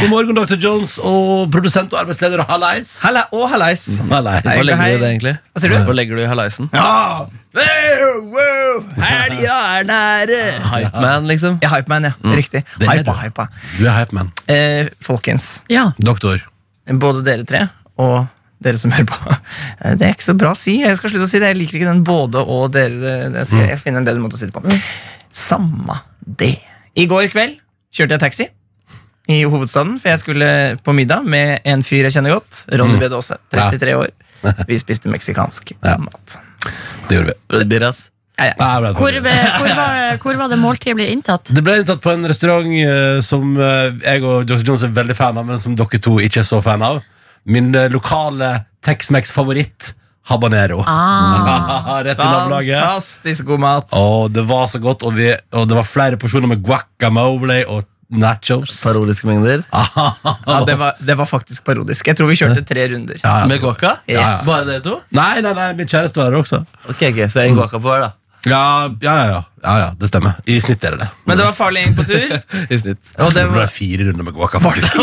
B: God morgen, Dr. Jones og produsent og arbeidsleder og hallais.
E: Halla, og hallais.
D: Hva legger du i det, egentlig?
E: Hva sier du?
D: Hva legger du i halaisen?
E: Ja! Wow, wow, Helga er nære!
D: Hypeman, liksom?
E: Ja, hypeman, ja. Riktig.
B: Mm. Det er
E: Hypa,
B: du.
E: hypa.
B: Du er hype man.
E: Eh, folkens,
C: Ja.
B: Doktor.
E: både dere tre og dere som hører på. eh, Det er ikke så bra å si. Jeg skal slutte å si det. Jeg liker ikke den både og dere. det- det- Jeg
B: Mm.
E: skal jeg finner en bedre måte å si det på. Samma det. I går kveld kjørte jeg taxi i hovedstaden, for jeg skulle på middag med en fyr jeg kjenner godt. Ronny
B: Mm.
E: Brede Aase, 33 år. Vi spiste meksikansk mat.
B: Det gjorde vi.
D: Rødbirras.
E: Ja,
B: Ja, det ble
C: Hvor, eh,
B: det.
C: hvor, var, hvor var det måltidet ble inntatt?
B: Det ble inntatt på en restaurant eh, som eh, jeg og Dr. Jones er veldig fan av, men som dere to ikke er så fan av. Min eh, lokale Tex-Mex-favoritt, habanero.
C: Ah.
B: Rett i nabolaget.
E: Fantastisk god mat.
B: Å, det var så godt, og, vi, og det var flere porsjoner med guacamole og nachos.
D: Parodiske mengder.
E: Ja, det, var, det var faktisk parodisk. Jeg tror vi kjørte tre runder.
B: Ja, ja.
D: Med guaca?
E: Ja, ja.
D: Bare dere to?
B: Nei, nei, nei, min kjæreste var der også.
D: Ok, ok, Så en guaca på hver, da.
B: Ja, ja, ja, ja, ja, ja det stemmer. I snitt er det det.
E: Men det var farlig inn på tur.
D: I snitt.
E: Og det
B: det ble
E: var,
B: fire runder med guaca, faktisk.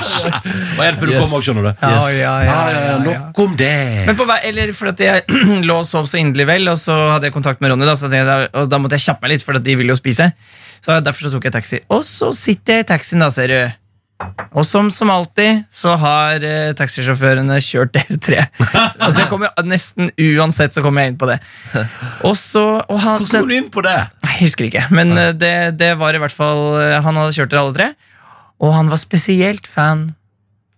B: Og en før du
D: Yes.
B: kom òg, skjønner du.
E: Ja, ja, ja, ja, ja.
B: Nok om det.
E: men på vei, eller for at jeg lå og sov så inderlig vel, og så hadde jeg kontakt med Ronny, da, så tenkte jeg, da- og da måtte jeg kjappe meg litt, for at de ville jo spise. Så Derfor så tok jeg taxi. Og så sitter jeg i taxien, da, ser du. Og som, som alltid så har eh, taxisjåførene kjørt dere tre. altså jeg kommer Nesten uansett så kommer jeg inn på det. Og så og han,
B: Hvordan kom du inn på det?
E: Nei, Jeg husker ikke, men eh, det, det var i hvert fall eh, Han hadde kjørt dere alle tre, og han var spesielt fan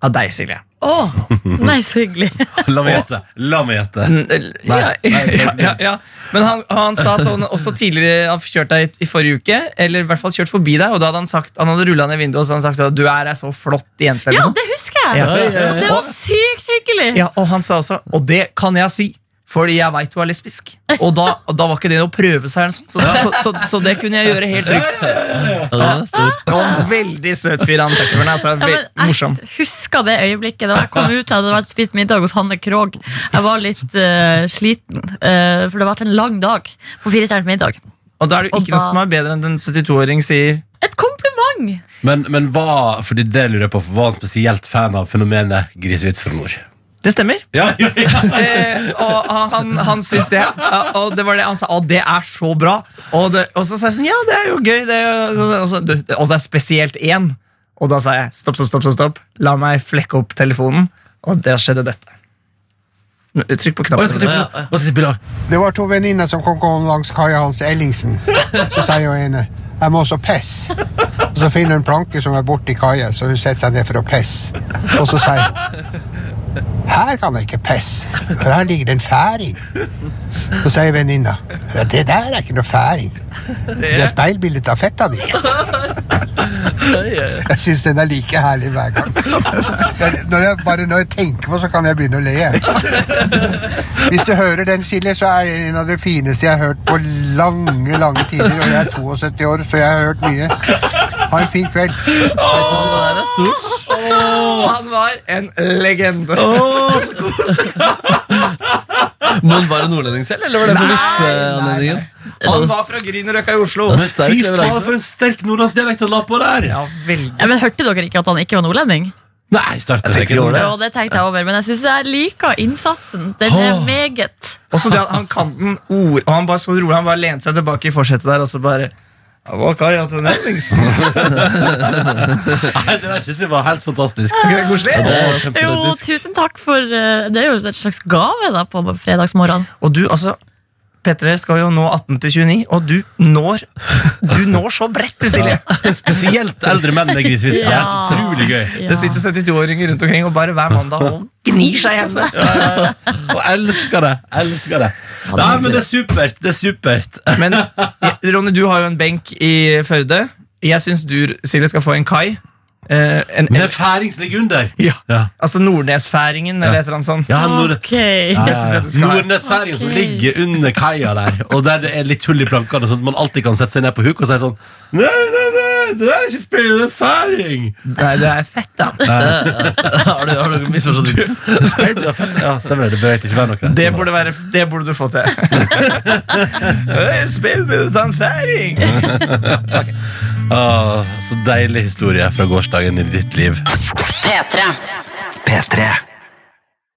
E: av deg, Silje.
C: Å,
N: Mhm.
C: nei, så hyggelig.
B: La meg gjette. La meg gjette.
E: N- eller-
B: Nei,
E: Ja,
B: nei, nei,
E: ja,
B: nei.
E: ja, ja. Men han, han sa at han også tidligere hadde kjørt deg i- i forrige uke, eller i hvert fall kjørt forbi deg, og da hadde han sagt Han hadde rulla ned vinduet og så hadde han sagt at du er ei så flott jente. eller
C: Ja,
E: sånn.
C: det husker jeg!
E: Ja, ja, ja, ja.
C: Det var sykt hyggelig.
E: Ja, og han sa også Og det kan jeg si fordi jeg veit du er lesbisk. Og da, og da var ikke det noe å prøve seg. eller noe sånt, Så, så, så, så det kunne jeg gjøre helt trygt.
D: Ja, den er stor.
E: Og en veldig søt fyr, han taxisjåføren.
C: Ja,
E: Altså, vel-
C: men jeg
E: morsom.
C: husker det øyeblikket da jeg kom ut og hadde vært spist middag hos Hanne Krogh. Jeg var litt eh, sliten, eh, for det har vært en lang dag på fire stjerners middag.
E: Og da er det jo
C: Og
E: ikke noe
C: da-
E: som er bedre enn en 72-åring sier
C: Et kompliment!
B: Men, men hva, fordi det lurer jeg på, var han spesielt fan av fenomenet grisevits fra nord?
E: Det stemmer.
B: Ja, ja, ja.
E: Eh, og ah, han, han syns det. Ja, Og det var det han sa. Å, det er så bra! Og, det, og så sa jeg sånn Ja, det er jo gøy. Det er jo, og, så, du, og det er spesielt én. Og da sa jeg stopp, stopp, stopp. stopp, stopp. La meg flekke opp telefonen. Og der skjedde dette. Nå, Trykk på
B: Hva skal jeg
E: knappen.
B: spille? Hva skal jeg spille?
O: Det var to venninner som kom gående langs kaia hans Ellingsen. Så sier hun ene jeg må også pisse. Og så finner hun en planke som er borti kaia, så hun setter seg ned for å pisse. Og så sier hun her kan jeg ikke pisse, for her ligger det en færing. Så sier venninna ja, det der er ikke noe færing. Det er speilbildet av fetta di. Jeg syns den er like herlig hver gang. Den- Når jeg, bare når jeg tenker på, så kan jeg begynne å le. Hvis du hører den, Silje, så er det en av de fineste jeg har hørt på lange, lange tider. Og jeg er 72 år, så jeg har hørt mye. Ha en fin kveld.
D: Den er stor.
E: Han var en legende.
D: Men var det nordlending selv, eller var det på vitseanledningen?
E: Han var fra Grünerløkka i Oslo.
D: Men sterk
B: Fy
D: leveranse.
B: faen, for en sterk nordlandsdialekt han la på der!
E: Ja, veldig
C: Ja, men Hørte dere ikke at han ikke var nordlending?
B: Nei, starten
K: Jeg tenker ikke over
C: Jo, det tenkte jeg over, men jeg syns jeg liker innsatsen. Den er
B: Åh.
C: meget.
E: Også det at han kan den ord, og han bare så rolig, han bare lente seg tilbake i forsetet der, og så bare «Ja, hva kan jeg til Nellingsen?»
B: Nei, det der synes jeg var helt fantastisk.
E: Er ikke det koselig?
C: Jo, tusen takk for eh, Det er jo et slags gave da på fredagsmorgenen.
E: Og du, altså P3 skal jo nå 18 til 29, og du når Du når så bredt, du, Silje!
B: Spesielt eldre menn er grisevitsen. Det er helt utrolig gøy.
C: Ja.
E: Det sitter 72-åringer rundt omkring og bare hver mandag og gnir seg i hendene.
B: Ja, ja, ja. Og elsker det. Elsker det. Nei, men det er supert. Det er supert.
E: Men ja, Ronny, du har jo en benk i Førde. Jeg syns du, Silje, skal få en kai. Eh, en,
B: Men det
E: en,
B: er færing som ligger under.
E: ja,
B: Ja.
E: altså Nordnesfæringen, eller et eller annet sånt.
B: Ja, nord
C: Ok.
E: Jeg synes at du skal ha-
B: Nordnesfæringen som
C: Ok.
B: ligger under kaia der, og der det er litt hull i plankene, sånn at man alltid kan sette seg ned på huk og si sånn Nei, nei, nei, det der er ikke spillet, det er færing!
E: Nei, det er fett, da.
D: Har du, har du misforstått det?
B: Speil, det er fett. Ja, stemmer det. Det bør egentlig ikke være noe der.
E: Det burde, være, det burde du få til. Spill med en færing!
B: Ah, så deilig historie fra gårsdagen i ditt liv.
A: P3.